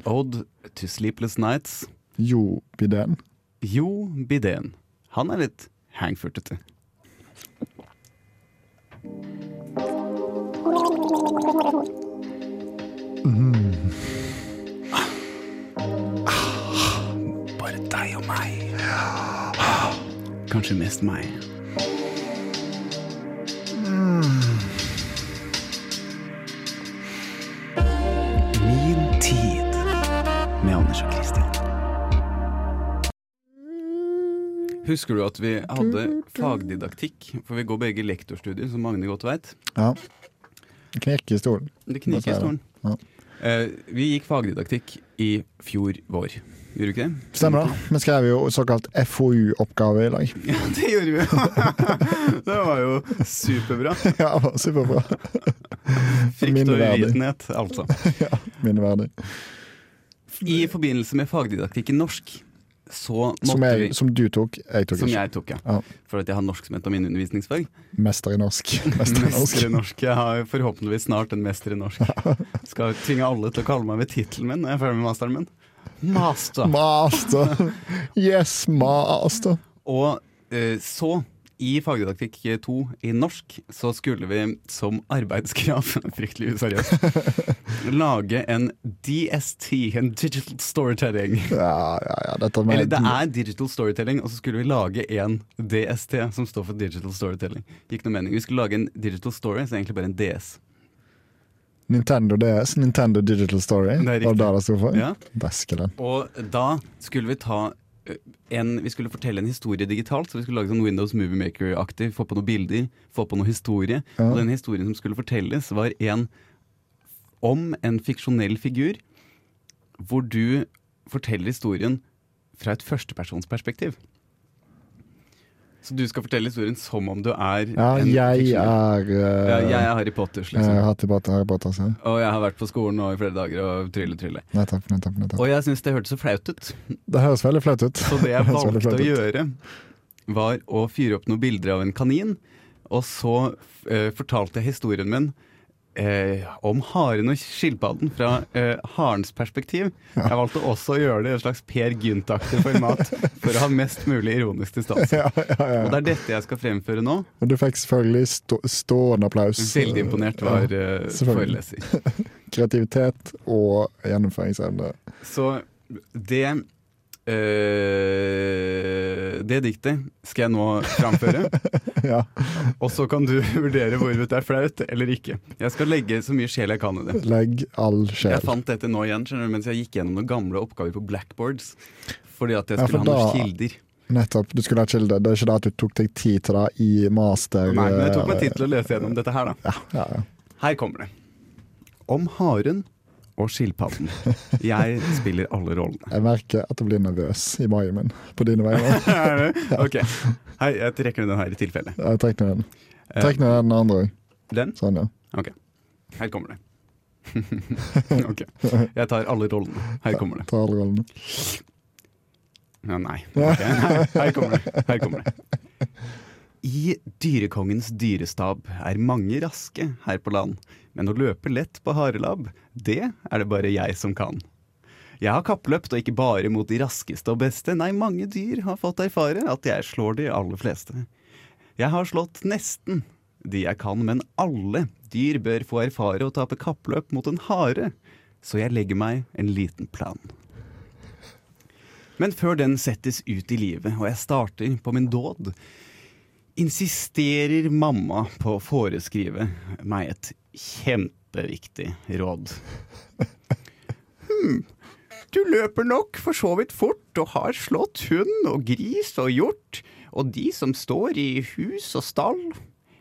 Speaker 1: Ode to Sleepless Nights.
Speaker 2: Jo, bidén.
Speaker 1: Jo Bidén. Han er litt hangfurtete. Mm. Bare deg og meg. Kanskje mest meg. Mm. Min tid med Anders og Christian. Husker du at vi hadde fagdidaktikk? For vi går begge lektorstudier, som Magne godt veit.
Speaker 2: Ja. Knirke i stolen.
Speaker 1: Det kniker i stolen.
Speaker 2: Ja.
Speaker 1: Eh, vi gikk fagdidaktikk i fjor vår. Gjorde vi ikke det?
Speaker 2: Stemmer det. Vi skrev jo såkalt FoU-oppgave i dag.
Speaker 1: Ja, det gjorde vi jo! det var jo superbra.
Speaker 2: ja, det var superbra.
Speaker 1: Frykt og
Speaker 2: Minneverdig.
Speaker 1: uvitenhet, altså.
Speaker 2: Minneverdig.
Speaker 1: I forbindelse med fagdidaktikk i norsk så måtte
Speaker 2: Som, jeg,
Speaker 1: vi
Speaker 2: som du tok, jeg tok
Speaker 1: Som
Speaker 2: ikke.
Speaker 1: jeg tok, ja.
Speaker 2: Ja.
Speaker 1: For at jeg har norsk som et av mine undervisningsfag.
Speaker 2: Mester i norsk. Mester i norsk.
Speaker 1: Mester i norsk. Jeg har forhåpentligvis snart en mester i norsk. Skal tvinge alle til å kalle meg ved tittelen min når jeg er ferdig med masteren min. Master.
Speaker 2: Master! Yes, master!
Speaker 1: Og eh, så, i fagdidaktikk 2 i norsk, så skulle vi som arbeidskrav Fryktelig useriøst. Lage en DST, en Digital Storytelling.
Speaker 2: Ja, ja, ja, dette med
Speaker 1: Eller det er digital storytelling, og så skulle vi lage en DST, som står for digital storytelling. Gikk noe mening. Vi skulle lage en digital story, så egentlig bare en DS.
Speaker 2: Nintendo DS, Nintendo Digital Story.
Speaker 1: Det er riktig.
Speaker 2: Var det det sto for?
Speaker 1: Ja.
Speaker 2: Dæskelen.
Speaker 1: Og da skulle vi ta ø, en, Vi skulle fortelle en historie digitalt, så vi skulle lage sånn Windows Movie Maker-aktig. Få på noen bilder, få på noe historie.
Speaker 2: Ja.
Speaker 1: Og den historien som skulle fortelles, var en om en fiksjonell figur, hvor du forteller historien fra et førstepersonsperspektiv. Så du skal fortelle historien som om du er
Speaker 2: Ja,
Speaker 1: en
Speaker 2: jeg
Speaker 1: fiksjonell-
Speaker 2: er
Speaker 1: ja,
Speaker 2: uh,
Speaker 1: Jeg er Harry Potters,
Speaker 2: eh,
Speaker 1: liksom.
Speaker 2: Harry Potter, Harry Potter, så.
Speaker 1: Og jeg har vært på skolen nå i flere dager og trylle, trylle.
Speaker 2: Nettopp, nettopp, nettopp.
Speaker 1: Og jeg syns det hørtes så flaut ut.
Speaker 2: Det høres veldig flaut ut.
Speaker 1: Så det jeg
Speaker 2: høres veldig
Speaker 1: valgte å
Speaker 2: flaut ut.
Speaker 1: gjøre, var å fyre opp noen bilder av en kanin. Og så eh, fortalte jeg historien min eh, om haren og skilpadden fra eh, harens perspektiv. Jeg valgte også å gjøre det i et slags Per Gynt-aktig format, for å ha mest mulig ironisk distanse. Og det er dette jeg skal fremføre nå.
Speaker 2: Og du fikk selvfølgelig stå, stående applaus.
Speaker 1: Veldig imponert var
Speaker 2: Ja.
Speaker 1: eh,
Speaker 2: selvfølgelig.
Speaker 1: foreleser.
Speaker 2: Kreativitet og gjennomføringsevne.
Speaker 1: Så det eh, Det diktet skal jeg nå framføre.
Speaker 2: Ja.
Speaker 1: Og så kan du vurdere hvorvidt det er flaut eller ikke. Jeg skal legge så mye sjel jeg kan i det.
Speaker 2: Legg all sjel.
Speaker 1: Jeg fant dette nå igjen skjønner du, mens jeg gikk gjennom noen gamle oppgaver på blackboards. Fordi at jeg
Speaker 2: Ja,
Speaker 1: skulle
Speaker 2: for
Speaker 1: ha noen
Speaker 2: da-
Speaker 1: kilder.
Speaker 2: Nettopp. Du skulle ha kilde. Det er ikke det at du tok deg tid til det i master...
Speaker 1: Nei, men jeg tok meg
Speaker 2: eh,
Speaker 1: tid til å lese gjennom dette her, da.
Speaker 2: Ja, ja.
Speaker 1: Her kommer det. Om haren og skilpadden. Jeg spiller alle rollene.
Speaker 2: Jeg merker at jeg blir nervøs i magen min på dine vegne.
Speaker 1: Er det? Ok. Hei, jeg trekker ned den her i tilfelle.
Speaker 2: Jeg trekker ned den. Trekk ned den andre òg.
Speaker 1: Den?
Speaker 2: Sånn, ja.
Speaker 1: Ok, her kommer det. ok, jeg tar alle rollene. Her kommer det.
Speaker 2: Ta alle rollene.
Speaker 1: Ja, nei. Ok, nei. Her kommer det. Her kommer det. I dyrekongens dyrestab er mange raske her på land, men å løpe lett på harelabb, det er det bare jeg som kan. Jeg har kappløpt, og ikke bare mot de raskeste og beste, nei, mange dyr har fått erfare at jeg slår de aller fleste. Jeg har slått nesten de jeg kan, men alle dyr bør få erfare å tape kappløp mot en hare, så jeg legger meg en liten plan. Men før den settes ut i livet, og jeg starter på min dåd, insisterer mamma på å foreskrive meg et kjempeviktig råd. Hmm. Du løper nok for så vidt fort og har slått hund og gris og hjort og de som står i hus og stall.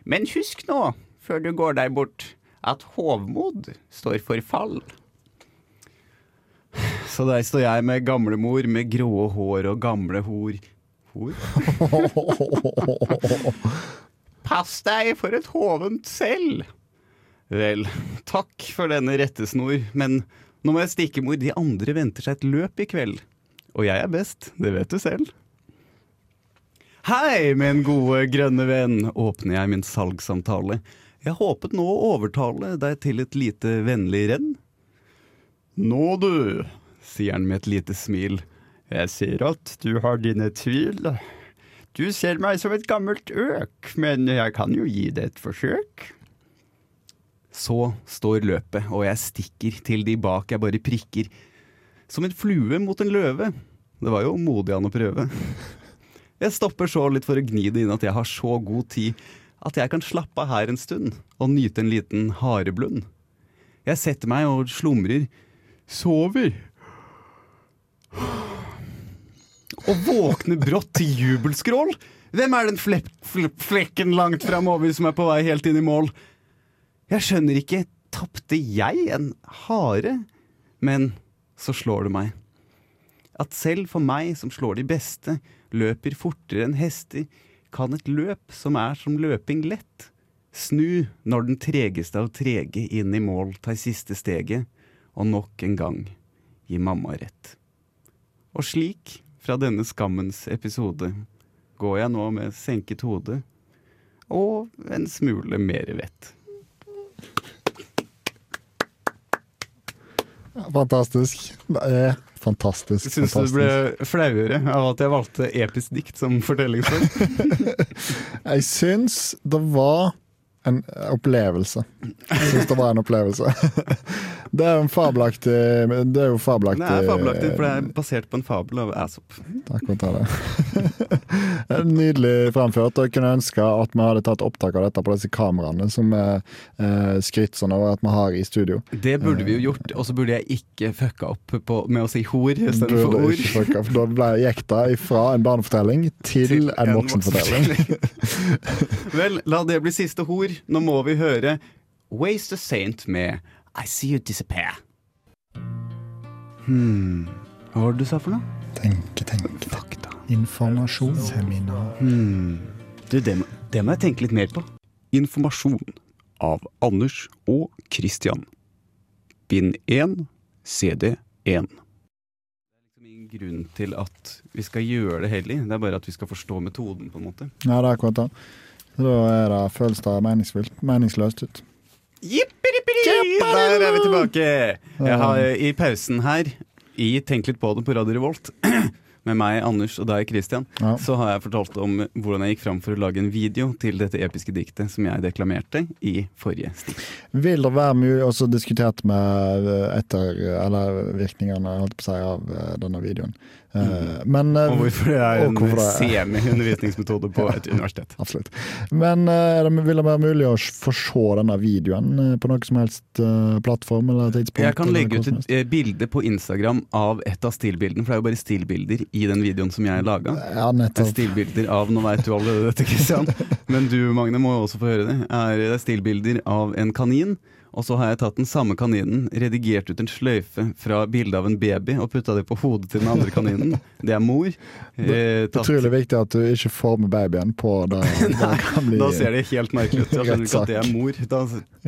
Speaker 1: Men husk nå, før du går deg bort, at hovmod står for fall. Så der står jeg med gamlemor med grå hår og gamle hor. Hor? Pass deg for et hovent selv! Vel, takk for denne rettesnor, men nå må jeg stikke, mor. De andre venter seg et løp i kveld. Og jeg er best, det vet du selv. Hei, min gode grønne venn, åpner jeg min salgssamtale. Jeg håpet nå å overtale deg til et lite vennlig renn. Nå du, sier han med et lite smil. Jeg ser at du har dine tvil. Du ser meg som et gammelt øk, men jeg kan jo gi det et forsøk. Så står løpet, og jeg stikker til de bak jeg bare prikker. Som en flue mot en løve. Det var jo modig han å prøve. Jeg stopper så litt for å gni det inn at jeg har så god tid at jeg kan slappe av her en stund og nyte en liten hareblund. Jeg setter meg og slumrer. Sover. Og våkner brått til jubelskrål. Hvem er den flepp, flepp, flekken langt framover som er på vei helt inn i mål? Jeg skjønner ikke. Tapte jeg en hare? Men så slår det meg. At selv for meg som slår de beste, løper fortere enn hester, kan et løp som er som løping lett, Snu når den tregeste av trege inn i mål tar siste steget, og nok en gang gi mamma rett. Og slik fra denne skammens episode går jeg nå med senket hode og en smule mer vett.
Speaker 2: Fantastisk. Det er fantastisk.
Speaker 1: Syns du det
Speaker 2: fantastisk.
Speaker 1: ble flauere av at jeg valgte episk dikt som fortellingsform?
Speaker 2: Jeg syns det var en opplevelse. Jeg syns det var en opplevelse. Det er jo en fabelaktig Det er jo fabelaktig
Speaker 1: Det er fabelaktig,
Speaker 2: eh,
Speaker 1: for det er basert på en fabel av Æsop.
Speaker 2: Akkurat det. Det er Nydelig framført. og Jeg kunne ønske at vi hadde tatt opptak av dette på disse kameraene som er eh, skrytt sånn over at vi har i studio.
Speaker 1: Det burde vi jo gjort, og så burde jeg ikke fucka opp på, med å si hor istedenfor
Speaker 2: Burde
Speaker 1: ord.
Speaker 2: ikke fucka, for Da ble jeg jekta ifra en barnefortelling til, en voksenfortelling.
Speaker 1: Vel, la det bli siste hor. Nå må vi høre Ways to Saint med I See You Disappear. Hmm. Hva var det du sa for noe?
Speaker 4: Tenke, tenke.
Speaker 1: Fakta.
Speaker 4: Informasjon. Seminar.
Speaker 1: Hmm. Du, det må, det må jeg tenke litt mer på. Informasjon av Anders og Christian. Bind 1, CD 1. Det er liksom ingen grunn til at vi skal gjøre det heller. Det er bare at vi skal forstå metoden, på en måte.
Speaker 2: Ja, det er akkurat det. Så Da er det, føles det meningsfullt, meningsløst ut.
Speaker 1: Jippirippiri! Der er vi tilbake. Jeg har eh, I pausen her, i Tenk litt på det på Radio Revolt, med meg, Anders og deg, Christian,
Speaker 2: Ja.
Speaker 1: så har jeg fortalt om hvordan jeg gikk fram for å lage en video til dette episke diktet som jeg deklamerte i forrige stikk.
Speaker 2: Vil det være mulig også diskutert med eh, etter, eller virkningene holdt jeg på å si, av eh, denne videoen? Eh, Men eh,
Speaker 1: Og hvorfor det er
Speaker 2: og
Speaker 1: en
Speaker 2: hvorfor det er-
Speaker 1: semi-undervisningsmetode på et universitet.
Speaker 2: Absolutt. Men eh, er det, vil det være mulig å s- få se denne videoen eh, på noen som helst eh, plattform eller tidspunkt?
Speaker 1: Jeg kan
Speaker 2: eller
Speaker 1: legge
Speaker 2: hvor
Speaker 1: ut
Speaker 2: som helst?
Speaker 1: et eh, bilde på Instagram av et av stillbildene, for det er jo bare stillbilder i den videoen som jeg laga.
Speaker 2: Ja, nettopp.
Speaker 1: Stilbilder av Nå veit du allerede dette, Kristian, men du Magne må jo også få høre det. Er det er stilbilder av en kanin, og så har jeg tatt den samme kaninen, redigert ut en sløyfe fra bildet av en baby og putta det på hodet til den andre kaninen. Det er mor. Eh, tatt,
Speaker 2: Utrolig viktig at du ikke får med babyen på det. det kan bli
Speaker 1: da ser det helt merkelig ut. Jeg skjønner ikke at det er mor. Da,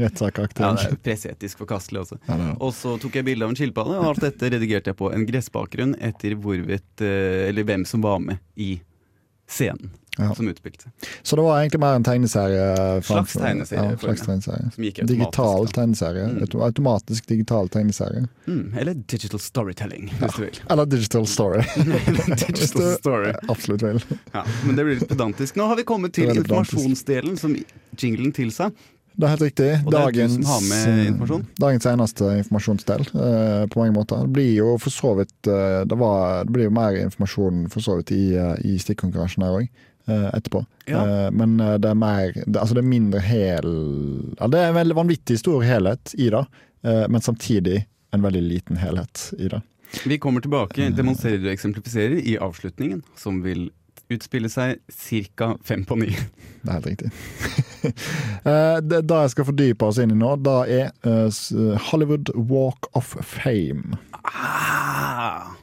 Speaker 2: rettssakaktig.
Speaker 1: ja, det er presseetisk forkastelig også.
Speaker 2: Ja, det er det.
Speaker 1: Og så tok jeg bilde av en skilpadde, og alt dette redigerte jeg på en gressbakgrunn etter hvorvidt, eh, eller hvem som var med i scenen
Speaker 2: Ja.
Speaker 1: som utspilte seg.
Speaker 2: Så det var egentlig mer en tegneserie? eh,
Speaker 1: Slags
Speaker 2: framfor-
Speaker 1: tegneserie,
Speaker 2: Ja,
Speaker 1: for meg.
Speaker 2: slags tegneserie.
Speaker 1: Som gikk automatisk,
Speaker 2: Digital
Speaker 1: da.
Speaker 2: tegneserie.
Speaker 1: Mm.
Speaker 2: Auto- Automatisk digital tegneserie.
Speaker 1: Mm, eller digital storytelling, hvis du vil.
Speaker 2: Eller digital story, Hvis
Speaker 1: digital
Speaker 2: du-
Speaker 1: story.
Speaker 2: absolutt vel.
Speaker 1: Ja, men det blir litt pedantisk. Nå har vi kommet til
Speaker 2: Det er veldig pedantisk.
Speaker 1: informasjonsdelen som jinglen tilsa.
Speaker 2: Det er helt riktig.
Speaker 1: Og det er du som har med informasjon.
Speaker 2: dagens eneste informasjonsdel, eh, på mange måter. Det blir jo for så vidt eh, det, var, det blir jo mer informasjon for så vidt i, eh, i stikkonkurransen her òg. Etterpå.
Speaker 1: Ja.
Speaker 2: Eh, Men eh, det er mer det, Altså det er mindre hel ja, Det er en veldig vanvittig stor helhet i det, eh, men samtidig en veldig liten helhet i det.
Speaker 1: Vi kommer tilbake,
Speaker 2: Mm.
Speaker 1: demonstrerer og eksemplifiserer i avslutningen, som vil utspille seg ca. fem på ni.
Speaker 2: Det er helt riktig. Eh, det, det jeg skal fordype oss inn i nå, det er eh, s- Hollywood Walk of Fame.
Speaker 1: Ah,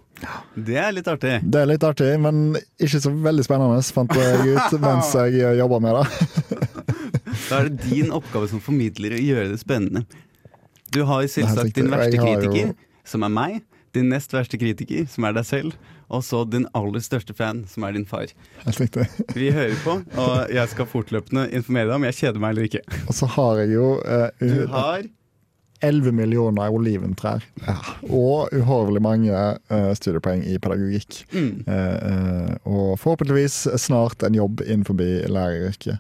Speaker 1: det er litt artig.
Speaker 2: Det er litt artig, men ikke så veldig spennende, fant jeg ut mens jeg jobba med det.
Speaker 1: Da er det din oppgave som formidler å gjøre det spennende. Du har
Speaker 2: Det
Speaker 1: selvsagt
Speaker 2: er helt
Speaker 1: din verste
Speaker 2: riktig, og jeg har jo-
Speaker 1: kritiker, som er meg. Din nest verste kritiker, som er deg selv. Og så din aller største fan, som er din far.
Speaker 2: Helt riktig.
Speaker 1: Vi hører på, og jeg skal fortløpende informere deg om jeg kjeder meg eller ikke.
Speaker 2: Og så har jeg jo
Speaker 1: Du
Speaker 2: eh,
Speaker 1: har
Speaker 2: 11 millioner oliventrær. Og uhorvelig mange eh, studiepoeng i pedagogikk.
Speaker 1: mm,
Speaker 2: Eh, eh, og forhåpentligvis snart en jobb innenfor læreryrket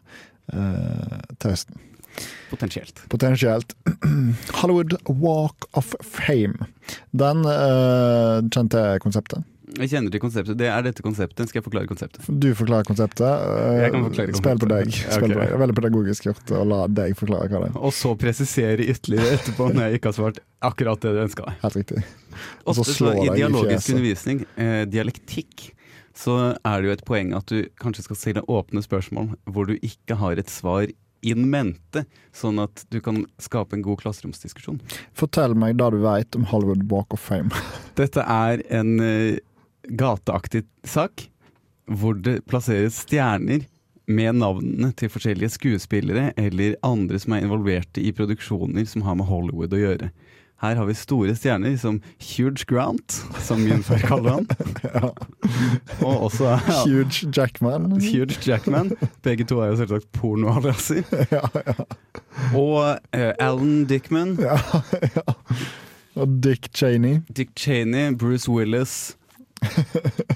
Speaker 2: eh, til høsten.
Speaker 1: potensielt.
Speaker 2: potensielt Hollywood Walk of Fame. Den eh, kjente jeg konseptet.
Speaker 1: Jeg kjenner til konseptet. Det er dette konseptet. Skal jeg forklare konseptet?
Speaker 2: Du forklarer konseptet. eh,
Speaker 1: Jeg kan forklare
Speaker 2: Spill på
Speaker 1: konseptet.
Speaker 2: deg.
Speaker 1: Ja,
Speaker 2: Spill
Speaker 1: ok.
Speaker 2: på deg. Det er Veldig pedagogisk gjort å la deg forklare hva det er.
Speaker 1: Og så presisere ytterligere etterpå når jeg ikke har svart akkurat det du ønska deg.
Speaker 2: Helt riktig. Og så
Speaker 1: Ofte så
Speaker 2: slår
Speaker 1: i
Speaker 2: deg i
Speaker 1: dialogisk
Speaker 2: fjeset.
Speaker 1: undervisning, eh, dialektikk, så er det jo et poeng at du kanskje skal stille åpne spørsmål hvor du ikke har et svar in mente, sånn at du kan skape en god klasseromsdiskusjon.
Speaker 2: Fortell meg det du vet om Hollywood Walk of Fame.
Speaker 1: Dette er en eh, gateaktig sak hvor det plasseres stjerner med navnene til forskjellige skuespillere eller andre som er involverte i produksjoner som har med Hollywood å gjøre. Her har vi store stjerner som Huge Grant, som min far kaller han. Og også ja,
Speaker 2: Huge Jackman.
Speaker 1: Huge Jackman. Begge to er jo selvsagt pornoadresser. Og eh, Alan Dickman,
Speaker 2: Og Dick Cheney.
Speaker 1: Dick Cheney, Bruce Willis,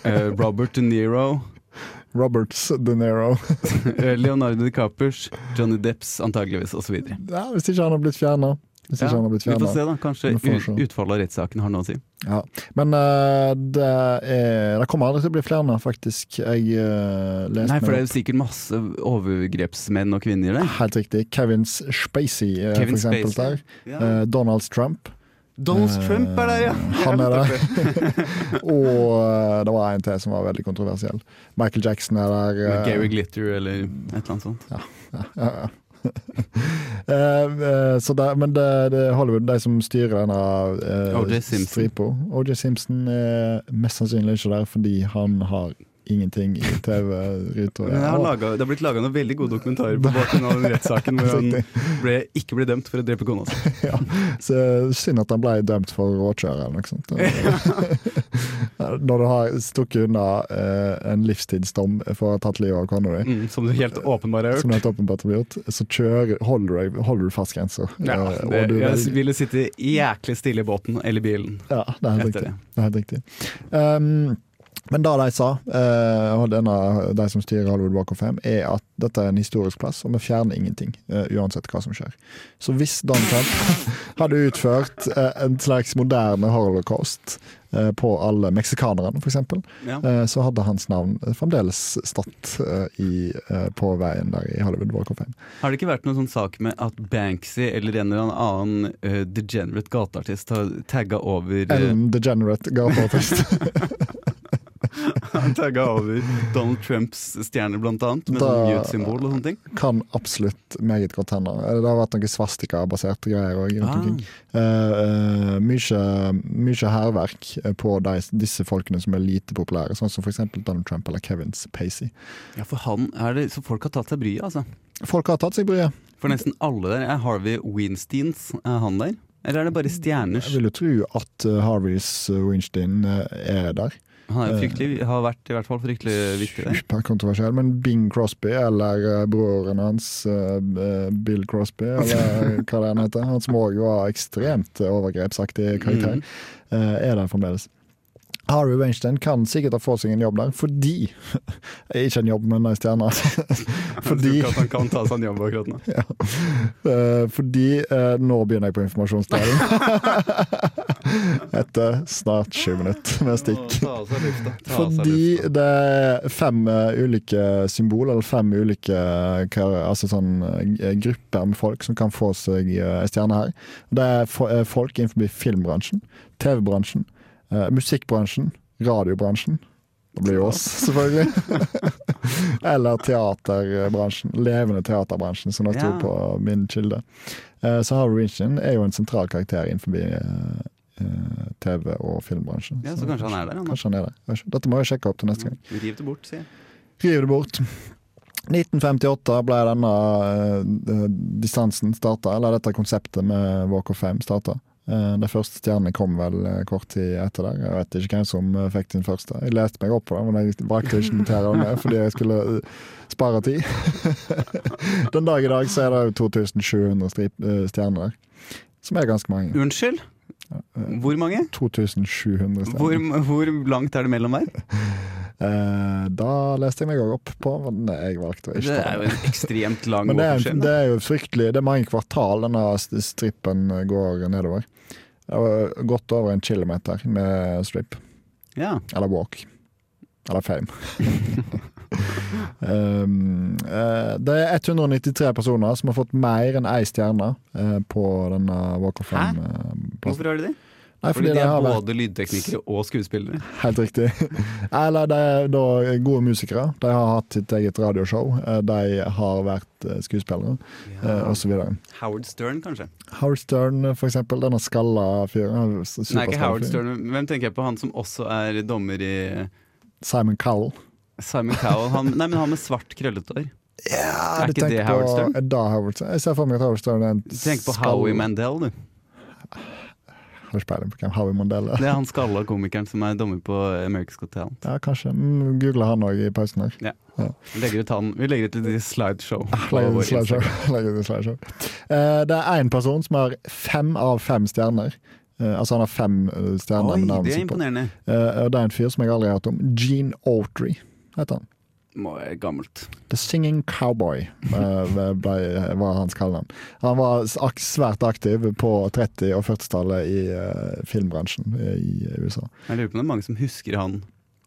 Speaker 1: eh, Robert De Niro,
Speaker 2: Roberts De Niro.
Speaker 1: eh, Leonardo DiCapers, Johnny Depps antageligvis osv.
Speaker 2: Ja, hvis ikke han har blitt fjerna. Hvis ikke
Speaker 1: Ja,
Speaker 2: han har blitt
Speaker 1: vi får
Speaker 2: fjernet.
Speaker 1: se, da. Kanskje
Speaker 2: Vi får
Speaker 1: ut,
Speaker 2: se.
Speaker 1: utfallet av rettssaken har noe å si.
Speaker 2: Ja. Men eh, det, er, det kommer aldri til å bli fjerna, faktisk. Jeg eh, leste
Speaker 1: Nei, for det
Speaker 2: meg
Speaker 1: er jo sikkert masse overgrepsmenn og kvinner
Speaker 2: opp.
Speaker 1: der.
Speaker 2: Helt riktig. Kevin Spacey, eh,
Speaker 1: Kevin
Speaker 2: for eksempel.
Speaker 1: Spacey.
Speaker 2: Der. Eh, Donald Trump.
Speaker 1: Donald
Speaker 2: eh,
Speaker 1: Trump er der, ja!
Speaker 2: Han er der. Og eh, det var en til som var veldig kontroversiell. Michael Jackson er der. eh,
Speaker 1: Med Gary Glitter eller et eller annet sånt.
Speaker 2: ja, ja. Eh, eh, så det, men det, det er Hollywood, de som styrer denne eh,
Speaker 1: O.J. Simpson.
Speaker 2: stripa. OJ Simpson er mest sannsynlig ikke der fordi han har ingenting i TV-ruta.
Speaker 1: Men jeg har laget, det har blitt laga noen veldig gode dokumentarer på bakgrunn av den rettssaken hvor han ble, ikke ble dømt for å drepe kona si.
Speaker 2: Ja, så synd at han ble dømt for råkjøre eller noe sånt. Når du har stukket unna eh, en livstidsdom for å ha tatt livet av kona di,
Speaker 1: Mm, som du helt åpenbart har
Speaker 2: som det
Speaker 1: hørt.
Speaker 2: helt åpenbart blir gjort, så kjører, holder, du, holder du fast grensa.
Speaker 1: Ja,
Speaker 2: Eh, og
Speaker 1: det,
Speaker 2: du
Speaker 1: jeg
Speaker 2: velger-
Speaker 1: ville sitte jæklig stille i båten eller bilen.
Speaker 2: Ja, det er helt
Speaker 1: Etter
Speaker 2: riktig. Det er helt riktig. Um, men det de sa, eh, og denne, de som styrer Hollywood Walk of Fame, er at dette er en historisk plass, og vi fjerner ingenting. eh, uansett hva som skjer. Så hvis Donald Trump hadde utført eh, en slags moderne holocaust eh, på alle meksikanerne, f.eks.,
Speaker 1: Ja.
Speaker 2: uh, så hadde hans navn eh, fremdeles stått eh, i, eh, på veien der i Hollywood Walk of Fame.
Speaker 1: Har det ikke vært noen sånn sak med at Banksy eller en eller annen eh, degenerate gateartist har tagga over, eh,
Speaker 2: Ellen DeGenerate gateartist.
Speaker 1: tagget over Donald Trumps stjerne, blant annet, med sånn
Speaker 2: Da-
Speaker 1: mute-symbol og sånne ting?
Speaker 2: kan absolutt meget godt hende. Eh, Det har vært noen svastika-baserte greier òg.
Speaker 1: Ah.
Speaker 2: Eh, mye, mye hærverk eh, på de, disse folkene som er lite populære, sånn som f.eks. Donald Trump eller Kevin Spacey.
Speaker 1: Ja, for han er det Så folk har tatt seg bryet, altså.
Speaker 2: Folk har tatt seg bryet.
Speaker 1: For nesten alle der. Er Harvey Weinsteins er han der? Eller er det bare stjerners?
Speaker 2: Jeg vil jo tro at eh, Harveys eh, Weinstein eh, er der.
Speaker 1: Han er jo fryktelig, har vært i hvert fall fryktelig
Speaker 2: Eh,
Speaker 1: viktig der.
Speaker 2: Superkontroversiell. Men Bing Crosby, eller eh, broren hans eh, eh, Bill Crosby, eller hva det han heter, han som òg var ekstremt eh, overgrepsaktig karakter,
Speaker 1: Mm.
Speaker 2: eh, er der fremdeles. Harry Weinstein kan sikkert ha fått seg en jobb der, fordi Ikke en jobb, men ei stjerne. fordi
Speaker 1: Jeg tror ikke at han kan ta seg en jobb akkurat nå.
Speaker 2: eh, fordi eh, Nå begynner jeg på informasjonsdelen. Etter snart sju minutter med stikk.
Speaker 1: Ta av seg lufta. Ta av seg
Speaker 2: Fordi
Speaker 1: lufta.
Speaker 2: det er fem eh, ulike symbol, eller fem ulike eh, hva- altså sånn, eh, grupper med folk som kan få seg eh, en stjerne her. Det er fo- eh, folk innenfor filmbransjen, TV-bransjen, eh, musikkbransjen, radiobransjen. Det blir jo oss, selvfølgelig. eller teaterbransjen. Levende teaterbransjen, som det sto
Speaker 1: Ja.
Speaker 2: på min kilde. Eh, Så Harry Winchin er jo en sentral karakter innenfor eh, eh, TV- og filmbransjen.
Speaker 1: Ja, så kanskje han er der, han Sånn da.
Speaker 2: Kanskje han Sånn er det. Jeg vet ikke. Dette må jeg sjekke opp til neste gang.
Speaker 1: Riv det bort, sier jeg.
Speaker 2: Riv det bort. 1958 ble denne eh, distansen starta, eller dette konseptet med Walk of Fame starta. de første stjernene kom vel eh, kort tid etter der. Jeg vet ikke hvem som eh, fikk den første. Jeg leste meg opp på det, men jeg valgte ikke å notere det ned fordi jeg skulle eh, spare tid. den dag i dag så er det jo 2700 strip- eh, stjerner der, som er ganske mange. Eh,
Speaker 1: Unnskyld? Hvor mange?
Speaker 2: 2700 stjerner.
Speaker 1: Hvor, hvor langt er det mellom hver?
Speaker 2: Eh, da leste jeg meg òg opp på, men jeg valgte å ikke
Speaker 1: Det
Speaker 2: ta
Speaker 1: er
Speaker 2: det.
Speaker 1: jo en ekstremt lang
Speaker 2: Men det er,
Speaker 1: overskjell.
Speaker 2: det er jo fryktelig Det er mange kvartal denne st- strippen går nedover. Det var Godt over en kilometer med strip.
Speaker 1: Ja.
Speaker 2: Eller walk. Eller fame. um, eh, det er 193 personer som har fått mer enn én stjerne eh, på denne Walk of
Speaker 1: Hæ?
Speaker 2: Fame-plassen.
Speaker 1: Hvorfor har de det?
Speaker 2: Nei,
Speaker 1: Fordi de
Speaker 2: det
Speaker 1: er
Speaker 2: har vært-
Speaker 1: både lydteknikere og skuespillere.
Speaker 2: Helt riktig. Eller de er da gode musikere. De har hatt sitt eget radioshow. Eh, De har vært eh, skuespillere, eh, og
Speaker 1: altså-
Speaker 2: så videre.
Speaker 1: Howard Stern, kanskje?
Speaker 2: Howard Stern, eh, for eksempel. Denne skalla fyren. eh, superskalla
Speaker 1: Nei, ikke Howard
Speaker 2: fyren.
Speaker 1: Stern. men Hvem tenker jeg på? Han som også er dommer i
Speaker 2: Simon Cowell.
Speaker 1: Simon Cowell. Han, nei, men han med svart, krøllete hår.
Speaker 2: Ja,
Speaker 1: Er
Speaker 2: du
Speaker 1: ikke
Speaker 2: tenker
Speaker 1: det Howard
Speaker 2: på-
Speaker 1: Stern?
Speaker 2: Er det Howard Stern? Jeg ser for meg at Howard Stern er en
Speaker 1: Tenk på
Speaker 2: skalla-
Speaker 1: Howie Mandel, du.
Speaker 2: Har ikke peiling på hvem Howie Mondella
Speaker 1: Det er han skalla komikeren som er dommer på America's Got Talent.
Speaker 2: Ja, kanskje. Mm, Google han òg i pausen her.
Speaker 1: Ja. Vi legger ut han Vi legger ut litt Ah, slideshow. på
Speaker 2: Legger
Speaker 1: vår
Speaker 2: ut i slideshow.
Speaker 1: Instagram.
Speaker 2: Legger ut i slideshow. Eh, det er én person som har fem av fem stjerner. Eh, altså han har fem eh, stjerner.
Speaker 1: Oi,
Speaker 2: med navnet
Speaker 1: det er
Speaker 2: sitt på.
Speaker 1: imponerende.
Speaker 2: Eh, og det er en fyr som jeg aldri har hørt om. Gene Autry heter han.
Speaker 1: Må være gammelt.
Speaker 2: The Singing Cowboy eh, ble, var hans kallenavn. Han var s- ak svært aktiv på 30- og 40-tallet i eh, filmbransjen eh, i USA.
Speaker 1: Jeg lurer på om det er mange som husker han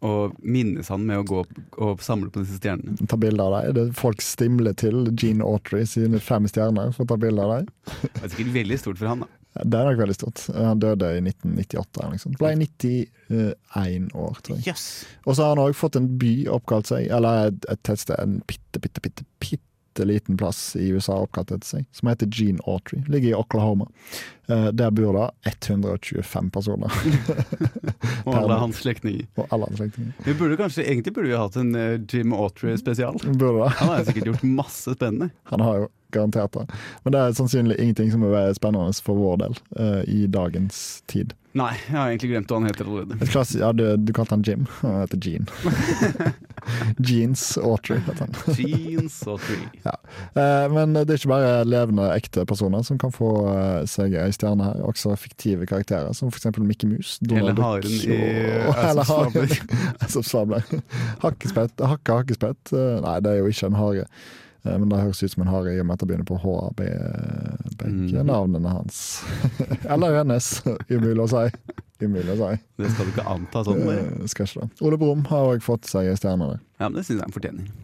Speaker 1: og minnes han med å gå opp og samle på disse stjernene.
Speaker 2: Ta bilde av deg. Det er folk stimler til Gene Autry sine fem stjerner for å ta bilde av deg.
Speaker 1: Det er sikkert veldig stort for han, da.
Speaker 2: Det er nok veldig stort. Han døde i 1998. eller noe sånt. Ble 91 år, tror jeg.
Speaker 1: Yes.
Speaker 2: Og så har han òg fått en by oppkalt seg, eller et, et tettsted, en bitte, bitte, bitte, bitte liten plass i USA oppkalt etter seg, som heter Gene Autry. Ligger i Oklahoma. Eh, der bor det 125 personer,
Speaker 1: Og alle hans slektninger.
Speaker 2: og alle andre slektninger.
Speaker 1: Vi burde kanskje, Egentlig burde vi hatt en eh, Jim Autry-spesial.
Speaker 2: Bor det?
Speaker 1: Han har jo sikkert gjort masse spennende.
Speaker 2: Han har jo garantert det. Men det er sannsynlig ingenting som vil være spennende for vår del eh, i dagens tid.
Speaker 1: Nei, jeg har egentlig glemt hva han heter allerede.
Speaker 2: Et klass, ja, du, du kalte han Jim. Han heter Gene. Jeans Autry heter han.
Speaker 1: Jeans Autry.
Speaker 2: Eh, Men det er ikke bare levende, ekte personer som kan få eh, seg ei stjerne her. Også fiktive karakterer, som f.eks. Mickey Mus.
Speaker 1: Hele haren
Speaker 2: Donald Duck
Speaker 1: i
Speaker 2: og- Hele haren som svabler. Hakkespett, hakka hakkespett. Eh, Nei, det er jo ikke en hare. Eh, Men det høres ut som en hare i og med at det begynner på H. Be- Begge
Speaker 1: Mhm.
Speaker 2: navnene hans. Eller hennes. Umulig å si. Umulig å si.
Speaker 1: Det skal du ikke anta sånn. bare.
Speaker 2: Eh, Skal ikke det. Ole Brumm har òg fått seg ei stjerne. der.
Speaker 1: Ja, men Det syns jeg han fortjener.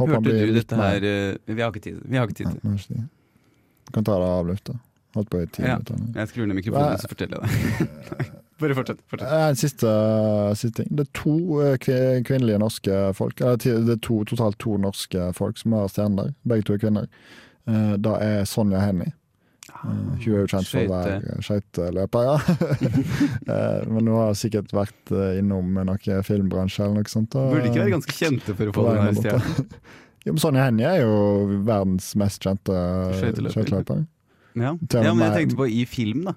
Speaker 2: Håper han
Speaker 1: Hørte
Speaker 2: blir
Speaker 1: du
Speaker 2: litt
Speaker 1: dette
Speaker 2: mer-
Speaker 1: her eh, Vi har ikke tid. Vi har ikke tid.
Speaker 2: Nei, nå er ikke det. Du kan ta det av lufta. Holdt på i ti
Speaker 1: Ja.
Speaker 2: minutter. nå.
Speaker 1: Jeg skrur ned mikrofonen, så forteller jeg deg. Bare fortsett. fortsett.
Speaker 2: Eh, En siste, siste ting. Det er to eh, kvi- kvinnelige norske folk, eller ti- det er to, totalt to norske folk som har stjerner. Begge to er kvinner. Eh, Det er Sonja Hennie.
Speaker 1: Ah,
Speaker 2: Eh, Hun er jo kjent for å
Speaker 1: eh.
Speaker 2: være skøyteløper, ja. Eh, Men hun har sikkert vært eh, innom noe filmbransje eller noe sånt.
Speaker 1: Burde ikke være ganske kjente for å få
Speaker 2: På
Speaker 1: den
Speaker 2: vegne
Speaker 1: her
Speaker 2: av
Speaker 1: stjernen.
Speaker 2: Ja, men Sonja Hennie er jo verdens mest kjente
Speaker 1: Skøyteløper.
Speaker 2: skøyteløper.
Speaker 1: Ja.
Speaker 2: Til
Speaker 1: ja, men jeg
Speaker 2: meg-
Speaker 1: tenkte på i film, da.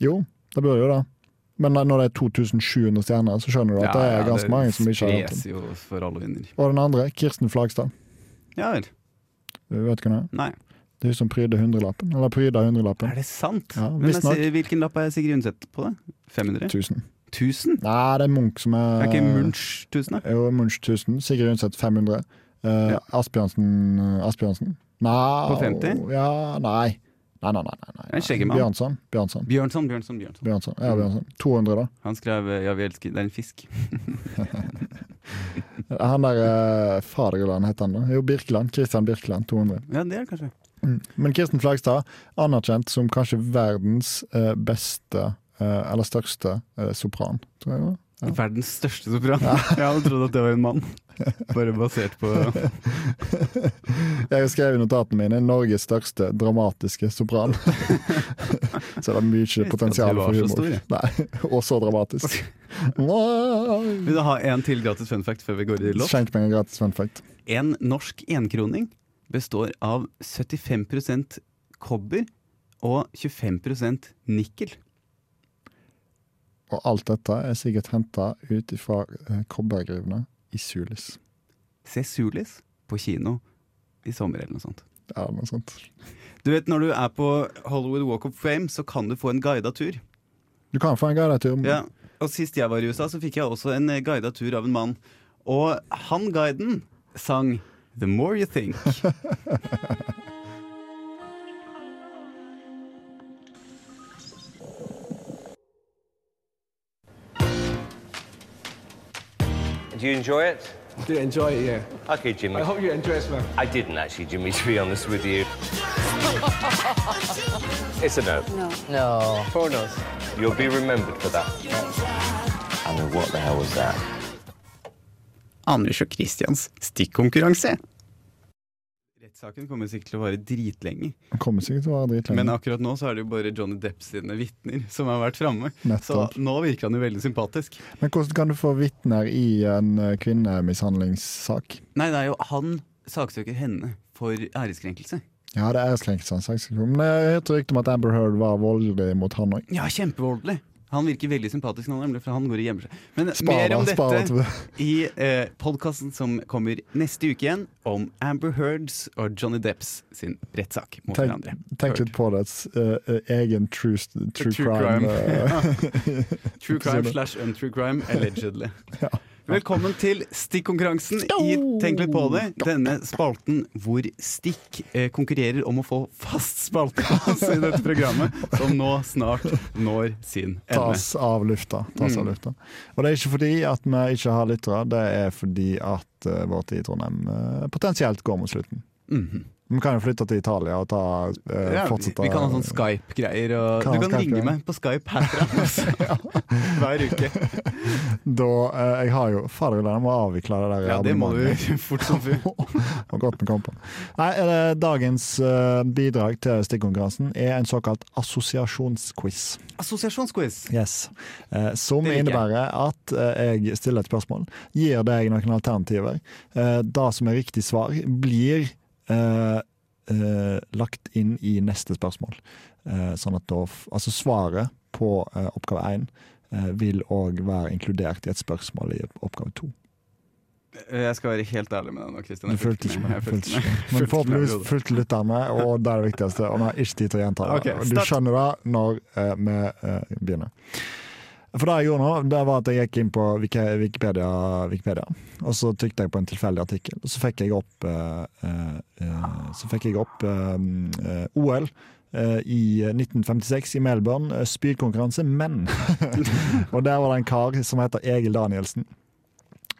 Speaker 2: Jo, det burde jo det. Men når det er 2700 stjerner, så skjønner du at det er ganske mange som ikke har hørt om.
Speaker 1: spres jo for alle hunder.
Speaker 2: Og den andre, Kirsten Flagstad.
Speaker 1: Ja vel.
Speaker 2: Du Vet ikke hva det er?
Speaker 1: Nei.
Speaker 2: Det er hun som pryder hundrelappen. Eller pryder hundrelappen.
Speaker 1: Er det sant?
Speaker 2: Ja,
Speaker 1: men jeg
Speaker 2: visstnok.
Speaker 1: ser, hvilken lapp er Sigrid Undset på det? 500?
Speaker 2: 1000.
Speaker 1: 1000?
Speaker 2: Nei, det er Munch som er
Speaker 1: Er ikke Munch 1000, da?
Speaker 2: Jo, Munch 1000. Sigrid Undset 500. Eh,
Speaker 1: Ja.
Speaker 2: Asbjørnsen eh, Asbjørnsen? Nei
Speaker 1: På 50?
Speaker 2: Ja, nei. Nei, nei, nei. nei, nei.
Speaker 1: En Mm. skjeggemann.
Speaker 2: Bjørnson. Bjørnson.
Speaker 1: Bjørnson, Bjørnson, Bjørnson.
Speaker 2: Bjørnson. Ja, Bjørnson. 200, da.
Speaker 1: Han skrev eh, 'Ja, vi elsker Det er en fisk.
Speaker 2: Han der eh, Faderland heter han da. Jo, Birkeland. Christian Birkeland. 200.
Speaker 1: Ja, det er det kanskje.
Speaker 2: Mm. Men Kirsten Flagstad, anerkjent som kanskje verdens eh, beste eh, eller største eh, sopran, tror jeg det var. Ja.
Speaker 1: Verdens største sopran. Jeg hadde trodd at det var en mann. Bare basert på
Speaker 2: Jeg har skrevet i notatene mine 'Norges største dramatiske sopran'. så det er mye
Speaker 1: at
Speaker 2: potensial
Speaker 1: du var
Speaker 2: for
Speaker 1: så
Speaker 2: humor.
Speaker 1: stor, jeg.
Speaker 2: Nei, og så dramatisk.
Speaker 1: Vil du ha en til gratis fun fact før vi går i låt?
Speaker 2: Skjenk meg en gratis fun fact.
Speaker 1: En norsk enkroning består av 75 kobber og 25 nikkel.
Speaker 2: Og alt dette er sikkert henta ut fra eh, kobbergruvene i Sulis.
Speaker 1: Se Sulis på kino i sommer eller noe sånt.
Speaker 2: Ja, noe sånt.
Speaker 1: Du vet Når du er på Hollywood Walk of Fame, så kan du få en guida tur.
Speaker 2: Du kan få en guidetur.
Speaker 1: Ja, og Sist jeg var i USA, så fikk jeg også en eh, guidet tur av en mann. Og han guiden sang The More You Think.
Speaker 5: Do you enjoy it?
Speaker 6: Do enjoy it, yeah.
Speaker 5: Okay, Jimmy.
Speaker 6: I hope you enjoy it, man.
Speaker 5: I didn't actually, Jimmy, to be honest with you. it's a no.
Speaker 7: No. Four notes.
Speaker 5: You'll be remembered for that. I mean, what the hell was that?
Speaker 1: Anders og Christians stikkonkurranse. Rettssaken kommer sikkert til å vare dritlenge,
Speaker 2: Den kommer sikkert til å være dritlenge.
Speaker 1: men akkurat nå så er det jo bare Johnny Depp sine vitner som har vært framme. Så
Speaker 2: Nettopp.
Speaker 1: nå virker han jo veldig sympatisk.
Speaker 2: Men hvordan kan du få vitner i en eh, kvinnemishandlingssak?
Speaker 1: Nei, det er jo han saksøker henne for æreskrenkelse.
Speaker 2: Ja, det er Slenkersand. Men jeg hørte rykte om at Amber Heard var voldelig mot han òg.
Speaker 1: Ja, kjempevoldelig. Han virker veldig sympatisk, nå, nemlig, for han går og gjemmer seg. Men mer om
Speaker 2: Spara, spara
Speaker 1: dette
Speaker 2: til
Speaker 1: i eh, podkasten som kommer neste uke igjen, om Amber Heards og Johnny Depps sin rettssak mot
Speaker 2: Tenk,
Speaker 1: hverandre.
Speaker 2: tenk litt på det. eh, eh, egen true, true,
Speaker 1: True crime.
Speaker 2: crime. eh,
Speaker 1: True crime slash untrue crime, allegedly. Velkommen til stikkonkurransen i Tenk litt på det. Denne spalten hvor stikk eh, konkurrerer om å få fast spalteplass i dette programmet, som nå snart når sin ende.
Speaker 2: tas av lufta. Tas
Speaker 1: Mm.
Speaker 2: av lufta. Og det er ikke fordi at vi ikke har lyttere, det er fordi at eh, vår tid i Trondheim eh, potensielt går mot slutten.
Speaker 1: Mhm.
Speaker 2: Vi kan jo flytte til Italia og ta, eh,
Speaker 1: Ja, vi
Speaker 2: fortsette
Speaker 1: vi kan ha sånn Skype-greier. Og
Speaker 2: Kan
Speaker 1: du
Speaker 2: ha
Speaker 1: kan
Speaker 2: Skype-greier.
Speaker 1: ringe meg på Skype herfra altså. hver uke.
Speaker 2: Da eh, Jeg har jo Fader, jeg må avvikle det der.
Speaker 1: Ja, det må
Speaker 2: abonnementet.
Speaker 1: du fort som fy.
Speaker 2: Det var godt vi kom på. Nei, eh, dagens eh, bidrag til stikkonkurransen er en såkalt assosiasjonsquiz.
Speaker 1: Assosiasjonsquiz.
Speaker 2: Yes. Eh, som
Speaker 1: Det liker jeg.
Speaker 2: innebærer at eh, jeg stiller et spørsmål, gir deg noen alternativer. Eh, det som er riktig svar, blir eh, eh, lagt inn i neste spørsmål. Eh, sånn at da f- Altså svaret på eh, oppgave én eh, vil òg være inkludert i et spørsmål i oppgave to.
Speaker 1: Eh, Jeg skal være helt ærlig med deg nå, Kristian.
Speaker 2: Du
Speaker 1: Jeg
Speaker 2: fulgte ikke
Speaker 1: med.
Speaker 2: med.
Speaker 1: Jeg
Speaker 2: fulgte
Speaker 1: fulgte
Speaker 2: ikke
Speaker 1: med.
Speaker 2: med.
Speaker 1: Fulgte
Speaker 2: Men
Speaker 1: med
Speaker 2: forhåpentligvis
Speaker 1: blodet.
Speaker 2: fulgte lytterne, og det er det viktigste. Og vi har ikke tid til å gjenta det.
Speaker 1: Ok,
Speaker 2: Og du
Speaker 1: start.
Speaker 2: skjønner det når eh, vi eh, begynner. For det jeg gjorde nå, det var at jeg gikk inn på Wiki- Wikipedia, Wikipedia og så trykte jeg på en tilfeldig artikkel. Og så fikk jeg opp, eh, eh, eh, så fikk jeg opp eh, eh, OL. eh, I 1956 i Melbourne, eh, spydkonkurranse menn. og der var det en kar som heter Egil Danielsen.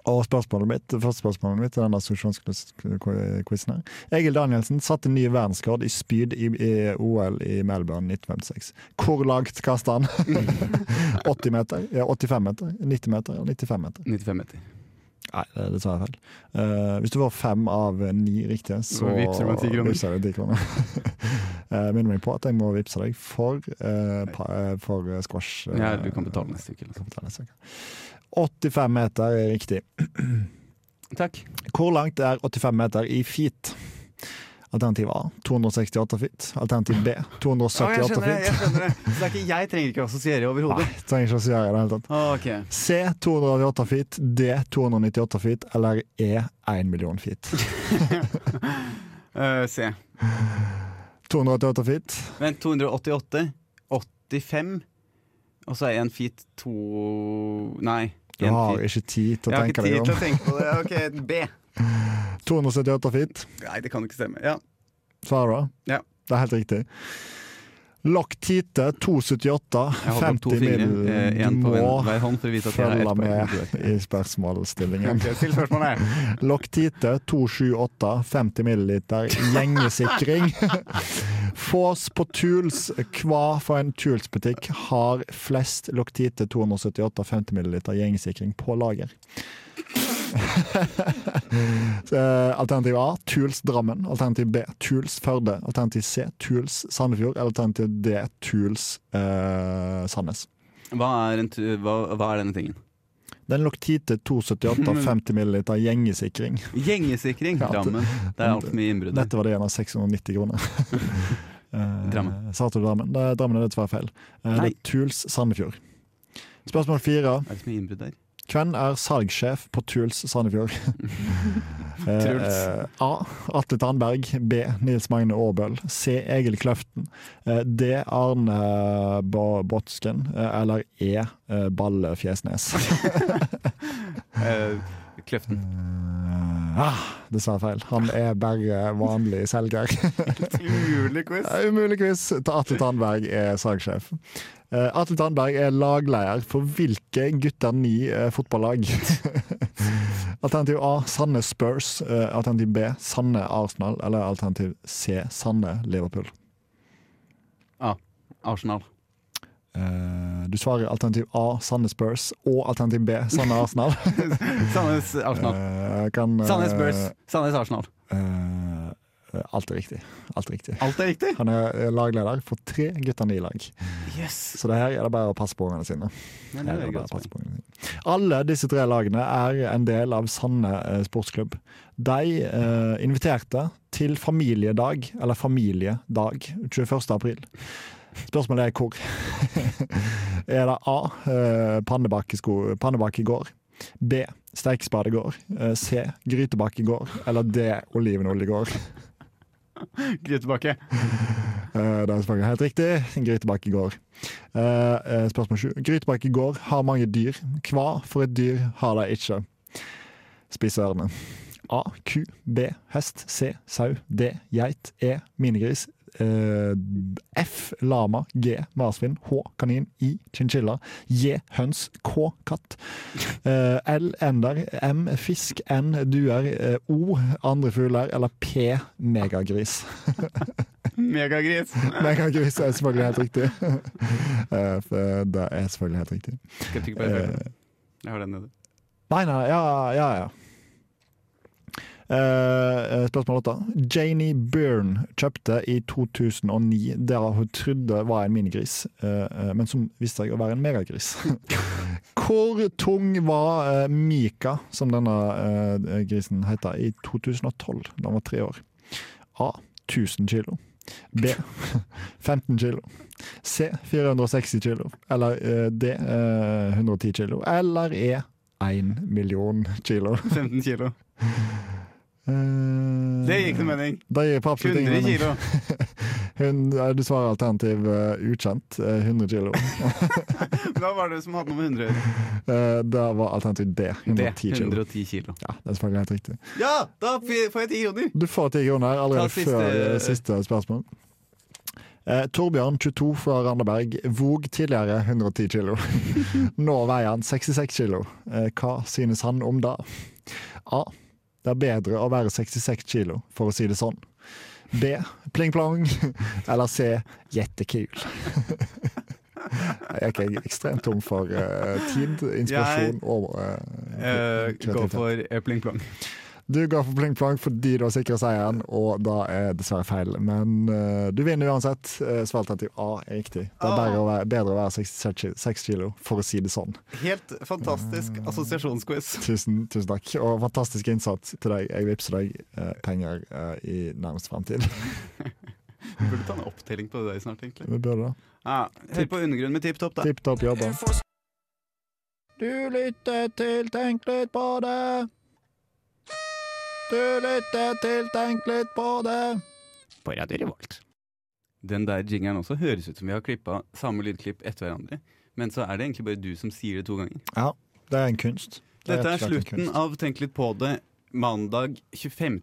Speaker 2: Og spørsmålet mitt, det første spørsmålet mitt til denne assosiasjonsquizen her. Egil Danielsen satte ny verdensrekord i spyd i, i OL i Melbourne 1956. Hvor langt kastet han? 80 meter? Ja, 85 meter? 90 meter? Ja, 95 meter?
Speaker 1: 95 meter.
Speaker 2: Nei, det det sa jeg feil. Eh, hvis du får fem av ni riktige, så
Speaker 1: Så vipser du meg 10 kroner.
Speaker 2: vipser jeg deg 10 kroner. Eh, Minner meg på at jeg må vipse deg for, eh, pa, eh, for eh, squash. eh,
Speaker 1: Ja, du kan betale neste uke. Liksom.
Speaker 2: kapitalen neste uke. 85 meter er riktig.
Speaker 1: Takk.
Speaker 2: Hvor langt er 85 meter i feet? Alternativ A 268 feet. Alternativ B 278 feet.
Speaker 1: skjønner det. Så det er ikke, jeg trenger ikke å assosiere
Speaker 2: Nei,
Speaker 1: overhodet.
Speaker 2: trenger ikke å si det i det hele tatt.
Speaker 1: Ok.
Speaker 2: C 288 feet, D 298 feet eller E 1 million feet.
Speaker 1: Eh, se.
Speaker 2: 288 feet.
Speaker 1: Vent, 288. 85. Og så er én feet to Nei.
Speaker 2: Du
Speaker 1: en
Speaker 2: har
Speaker 1: feet.
Speaker 2: ikke tid
Speaker 1: Jeg
Speaker 2: til å
Speaker 1: har
Speaker 2: tenke
Speaker 1: ikke
Speaker 2: deg
Speaker 1: tid til
Speaker 2: om.
Speaker 1: å tenke på det. Ok, B.
Speaker 2: 278 feet.
Speaker 1: Nei, det kan ikke stemme. Ja.
Speaker 2: Svarer du?
Speaker 1: Ja.
Speaker 2: Det er helt riktig. Loctite 278,
Speaker 1: Jeg holder opp to
Speaker 2: 50
Speaker 1: fingre.
Speaker 2: mil.
Speaker 1: eh, En
Speaker 2: Du
Speaker 1: på hver-
Speaker 2: må
Speaker 1: hver hånd for å vite at jeg har
Speaker 2: følge
Speaker 1: ett poeng.
Speaker 2: med i spørsmålsstillingen.
Speaker 1: Ok, Still spørsmålet.
Speaker 2: Loctite 278 50 ml gjengesikring. Fås på Tuls. Hva for en Tuls-butikk har flest Loctite 278 50 ml gjengesikring på lager? Eh, Alternativ A Tuls Drammen. Alternativ B Tuls Førde. Alternativ C Tuls Sandefjord. Eller Alternativ D Tuls eh, Sandnes.
Speaker 1: Hva er, en, tu- hva, hva er denne tingen?
Speaker 2: Det er en Loctite 278 50 ml gjengesikring.
Speaker 1: Gjengesikring.
Speaker 2: Ja, det-
Speaker 1: Drammen. Det er altfor mye innbrudd. der.
Speaker 2: Dette var det igjen av 690 kroner. Eh,
Speaker 1: Drammen.
Speaker 2: Sa du Drammen? Det, Drammen er dessverre feil. Eh, Det
Speaker 1: Nei.
Speaker 2: er Tuls Sandefjord. Spørsmål fire.
Speaker 1: Er det så mye innbrudd der?
Speaker 2: Hvem er salgssjef på Tuls Sandefjord? Eh,
Speaker 1: Truls.
Speaker 2: A. Atle Tandberg. B. Nils Magne Aabøl. C. Egil Kløften. Eh, D. Arne Bo- Botsken. Eh, Eller E. eh, Balle Fjesnes.
Speaker 1: Eh, Kløften.
Speaker 2: ah, dessverre feil. Han er bare vanlig selger.
Speaker 1: Umulig quiz.
Speaker 2: Det er Umulig quiz til Atle Tandberg er sagsjef. Eh, Atle Tandberg er lagleder for hvilke gutter ni eh, fotballag? alternativ A Sanne Spurs. eh, alternativ B Sanne Arsenal. Eller alternativ C Sanne Liverpool.
Speaker 1: Arsenal.
Speaker 2: Eh, du svarer alternativ A Sanne Spurs og alternativ B Sanne Arsenal.
Speaker 1: Sandnes Arsenal.
Speaker 2: Eh, kan, eh,
Speaker 1: Sandnes Spurs. Sandnes Arsenal.
Speaker 2: eh, Eh, Alt er riktig. Alt er riktig.
Speaker 1: Alt er riktig?
Speaker 2: Han er eh, lagleder for tre guttene i lag.
Speaker 1: Yes!
Speaker 2: Så det her er det bare å passe på ungene sine.
Speaker 1: Men
Speaker 2: Her
Speaker 1: det
Speaker 2: er
Speaker 1: er
Speaker 2: det bare å
Speaker 1: greit. altså.
Speaker 2: passe på ungene sine. Alle disse tre lagene er en del av Sande eh, sportsklubb. De eh, inviterte til familiedag, eller familiedag, 21. april. Spørsmålet er hvor. er det A. eh, Pannebak i, sko pannebak i går. B. Steikespade i går. eh, C. Grytebak i går. Eller D. Olivenolje i går.
Speaker 1: Grytebakke.
Speaker 2: Eh, Det er selvfølgelig helt riktig. Grytebakk i går. Eh, eh, Spørsmål sju. Grytebakk i går har mange dyr. Hva for et dyr har de ikke? Spise ørene. A. Ku. B. Hest. C. Sau. D. Geit. E. Minigris. Eh, F. Lama. G. Marsvin. H. Kanin. I. Chinchilla. J. Høns. K. Katt. Eh, L. Ender. M. Fisk. N. Duer. Eh, O. Andre fugler. Eller P. Megagris.
Speaker 1: Megagris.
Speaker 2: Megagris er selvfølgelig helt riktig. Eh, for det er selvfølgelig helt riktig.
Speaker 1: Skal jeg trykke på
Speaker 2: Eh,
Speaker 1: F5? Jeg har den nede.
Speaker 2: Nei, nei, ja, ja. ja. Eh, spørsmål åtte. Janie Byrne kjøpte i 2009 det hun trodde var en minigris, eh, men som viste seg å være en megagris. Hvor tung var eh, Mika, som denne eh, grisen heter, i 2012, da han var tre år? A. 1000 kilo. B. 15 kilo. C. 460 kilo. Eller eh, D. eh, 110 kilo. Eller E. 1 million kilo.
Speaker 1: 15 kilo.
Speaker 2: Eh,
Speaker 1: Det gikk noe mening.
Speaker 2: Det gir på absolutt ingen
Speaker 1: 100
Speaker 2: mening.
Speaker 1: kilo.
Speaker 2: Hun- eh, du svarer alternativ eh, ukjent. eh, 100 kilo.
Speaker 1: Hva var det som hadde noe med 100?
Speaker 2: Eh, det var alternativ D.
Speaker 1: Det.
Speaker 2: 110 kilo.
Speaker 1: 110 kilo.
Speaker 2: Ja, det er selvfølgelig helt riktig.
Speaker 1: Ja! Da f- får jeg 10 kroner.
Speaker 2: Du får ti kroner allerede
Speaker 1: Ta siste-
Speaker 2: før eh, siste spørsmål. Eh, Torbjørn, 22, fra Randaberg, vog tidligere 110 kilo. Nå veier han 66 kilo. Eh, hva synes han om det? A. Det er bedre å være 66 kilo, for å si det sånn. B. Pling plong. Eller C. Jettekul. Jeg er ikke ekstremt tom for eh, tid, inspirasjon og eh,
Speaker 1: Eh, gå for eh, pling plong.
Speaker 2: du går for pling plong fordi du har sikra seieren, og da er dessverre feil. Men eh, du vinner uansett. Uh, Svaralternativ A er riktig. Det
Speaker 1: Ah.
Speaker 2: er bedre å være, bedre å være 66 seks kilo, for å si det sånn.
Speaker 1: Helt fantastisk assosiasjonsquiz.
Speaker 2: Tusen, tusen takk, og fantastisk innsats til deg. Jeg vippser deg eh, penger eh, i nærmest framtid.
Speaker 1: Burde ta en opptelling på det der snart, egentlig.
Speaker 2: Vi bør det.
Speaker 1: Ja, hør på Undergrunn med Tipp Topp, da.
Speaker 2: Tipp topp jobba. Du lytter til Tenk litt på det. Du lytter til Tenk litt på det.
Speaker 1: På Radio Revolt. Den der jingeren også høres ut som vi har klippa samme lydklipp etter hverandre. Men så er det egentlig bare du som sier det to ganger.
Speaker 2: Ja, det er en kunst. Det
Speaker 1: Dette er
Speaker 2: rett og slett en
Speaker 1: slutten
Speaker 2: kunst.
Speaker 1: av Tenk litt på det, mandag 25.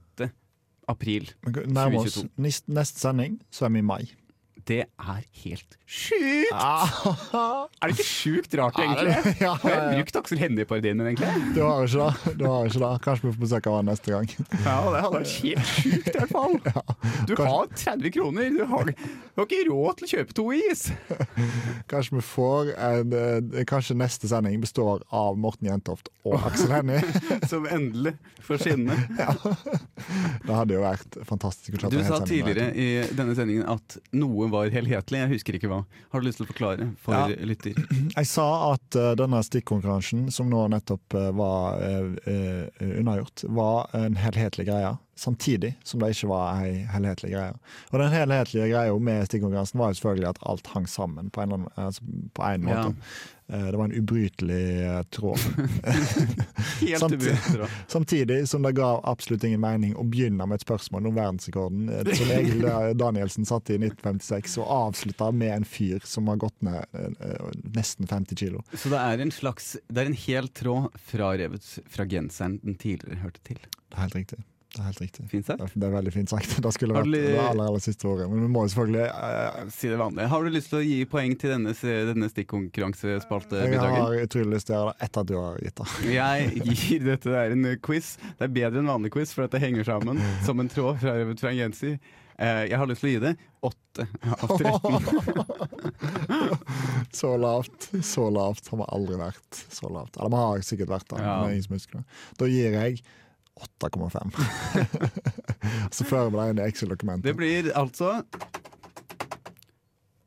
Speaker 1: april.
Speaker 2: Men gå- Nærmer oss
Speaker 1: 2022.
Speaker 2: nis- neste sending, så er vi i mai.
Speaker 1: Det er helt sjukt!
Speaker 2: Ah,
Speaker 1: Er det ikke sjukt rart,
Speaker 2: Ja, det-
Speaker 1: egentlig?
Speaker 2: ja,
Speaker 1: Har
Speaker 2: ja,
Speaker 1: jeg
Speaker 2: ja.
Speaker 1: brukt Aksel Hennie-parodien min, egentlig?
Speaker 2: Du har ikke det. Du har ikke det. Kanskje vi får besøk av han neste gang.
Speaker 1: Ja, det hadde vært helt sjukt, i hvert fall. Du har 30 kroner, du har, du har ikke råd til å kjøpe to is!
Speaker 2: Kanskje vi får en, eh, Kanskje neste sending består av Morten Jentoft og Aksel Hennie.
Speaker 1: Som endelig får skinne.
Speaker 2: Det hadde jo vært fantastisk. å klare
Speaker 1: Du
Speaker 2: en hel
Speaker 1: sa
Speaker 2: sending med.
Speaker 1: tidligere i denne sendingen at noe var helhetlig. Jeg husker ikke hva. Har du lyst til å forklare for
Speaker 2: Ja.
Speaker 1: lytter?
Speaker 2: Jeg sa at eh, denne stikkonkurransen, som nå nettopp eh, var eh, eh, unnagjort, var en helhetlig greie. Samtidig som det ikke var ei helhetlig greie. Og den helhetlige greia med stikkonkurransen var jo selvfølgelig at alt hang sammen på en, eller annen, altså på en
Speaker 1: Ja.
Speaker 2: måte. Eh, Det var en ubrytelig eh, tråd.
Speaker 1: Helt
Speaker 2: Sant.
Speaker 1: umulig. da.
Speaker 2: Samtidig som det ga absolutt ingen mening å begynne med et spørsmål om verdensrekorden, eh, som Egil Danielsen satte i 1956, og avslutta med en fyr som har gått ned eh, eh, nesten 50 kilo.
Speaker 1: Så det er en slags Det er en hel tråd frarevet fra genseren den tidligere hørte til.
Speaker 2: Det er helt riktig. Det er helt riktig.
Speaker 1: Fint sagt?
Speaker 2: Det det er veldig fint sagt. Det skulle
Speaker 1: Har
Speaker 2: vært
Speaker 1: du li-
Speaker 2: det aller, aller siste ordet. Men vi må jo selvfølgelig eh,
Speaker 1: Si det vanlige. Har du lyst til å gi poeng til denne, denne
Speaker 2: Jeg
Speaker 1: stikkonkurransespaltebidraget?
Speaker 2: har utrolig lyst til å gjøre det etter at du har gitt det.
Speaker 1: Jeg gir dette der en quiz. Det er bedre enn vanlig quiz, for at det henger sammen som en tråd frarevet fra en genser. Eh, Jeg har lyst til å gi det åtte av 13.
Speaker 2: Så lavt. Så lavt har vi aldri vært. Så lavt. Eller vi har sikkert vært det,
Speaker 1: Ja.
Speaker 2: men det er ingen som husker det. Da gir jeg 8,5. så fører vi deg inn i
Speaker 1: Det
Speaker 2: Excel-dokumentet.
Speaker 1: blir altså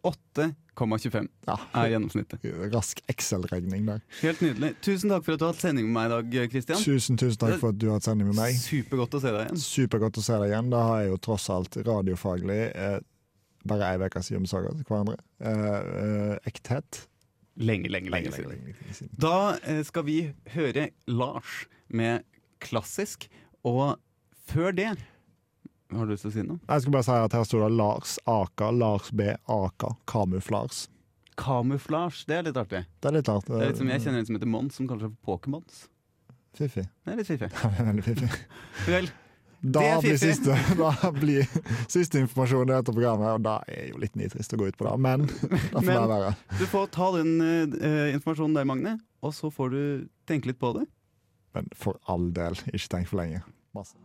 Speaker 1: 8,25
Speaker 2: Ja,
Speaker 1: er gjennomsnittet.
Speaker 2: rask Excel-regning der.
Speaker 1: Helt nydelig. Tusen takk for at du har hatt sending med meg i dag, Kristian.
Speaker 2: Tusen, tusen takk for at du har hatt sending med meg.
Speaker 1: Supergodt å se deg igjen.
Speaker 2: Supergodt å se deg igjen. Da har jeg jo tross alt radiofaglig eh, bare ei uke siden vi så hverandre. Eh, eh, ekthet.
Speaker 1: Lenge, lenge, lenge siden. Da eh, skal vi høre Lars med klassisk, og før det Har du lyst til å si noe?
Speaker 2: Jeg skal bare si at her står det Lars Aka, Lars B. Aka, Kamuflars.
Speaker 1: Kamuflasj, det er litt artig.
Speaker 2: Det er litt rart.
Speaker 1: Det er litt som, jeg kjenner en som heter Mons, som kaller seg for Pokémons.
Speaker 2: Fiffig.
Speaker 1: Det er litt fiffig.
Speaker 2: Ja, det er veldig fiffig.
Speaker 1: Vel,
Speaker 2: Da
Speaker 1: Det er
Speaker 2: blir
Speaker 1: fiffig.
Speaker 2: siste, da blir siste informasjon i dette programmet, og da er jeg jo litt nitrist å gå ut på det, men det får
Speaker 1: Men-
Speaker 2: bare være.
Speaker 1: du får ta den eh, informasjonen der, Magne, og så får du tenke litt på det.
Speaker 2: Men for all del, ikke tenk for lenge. Masse.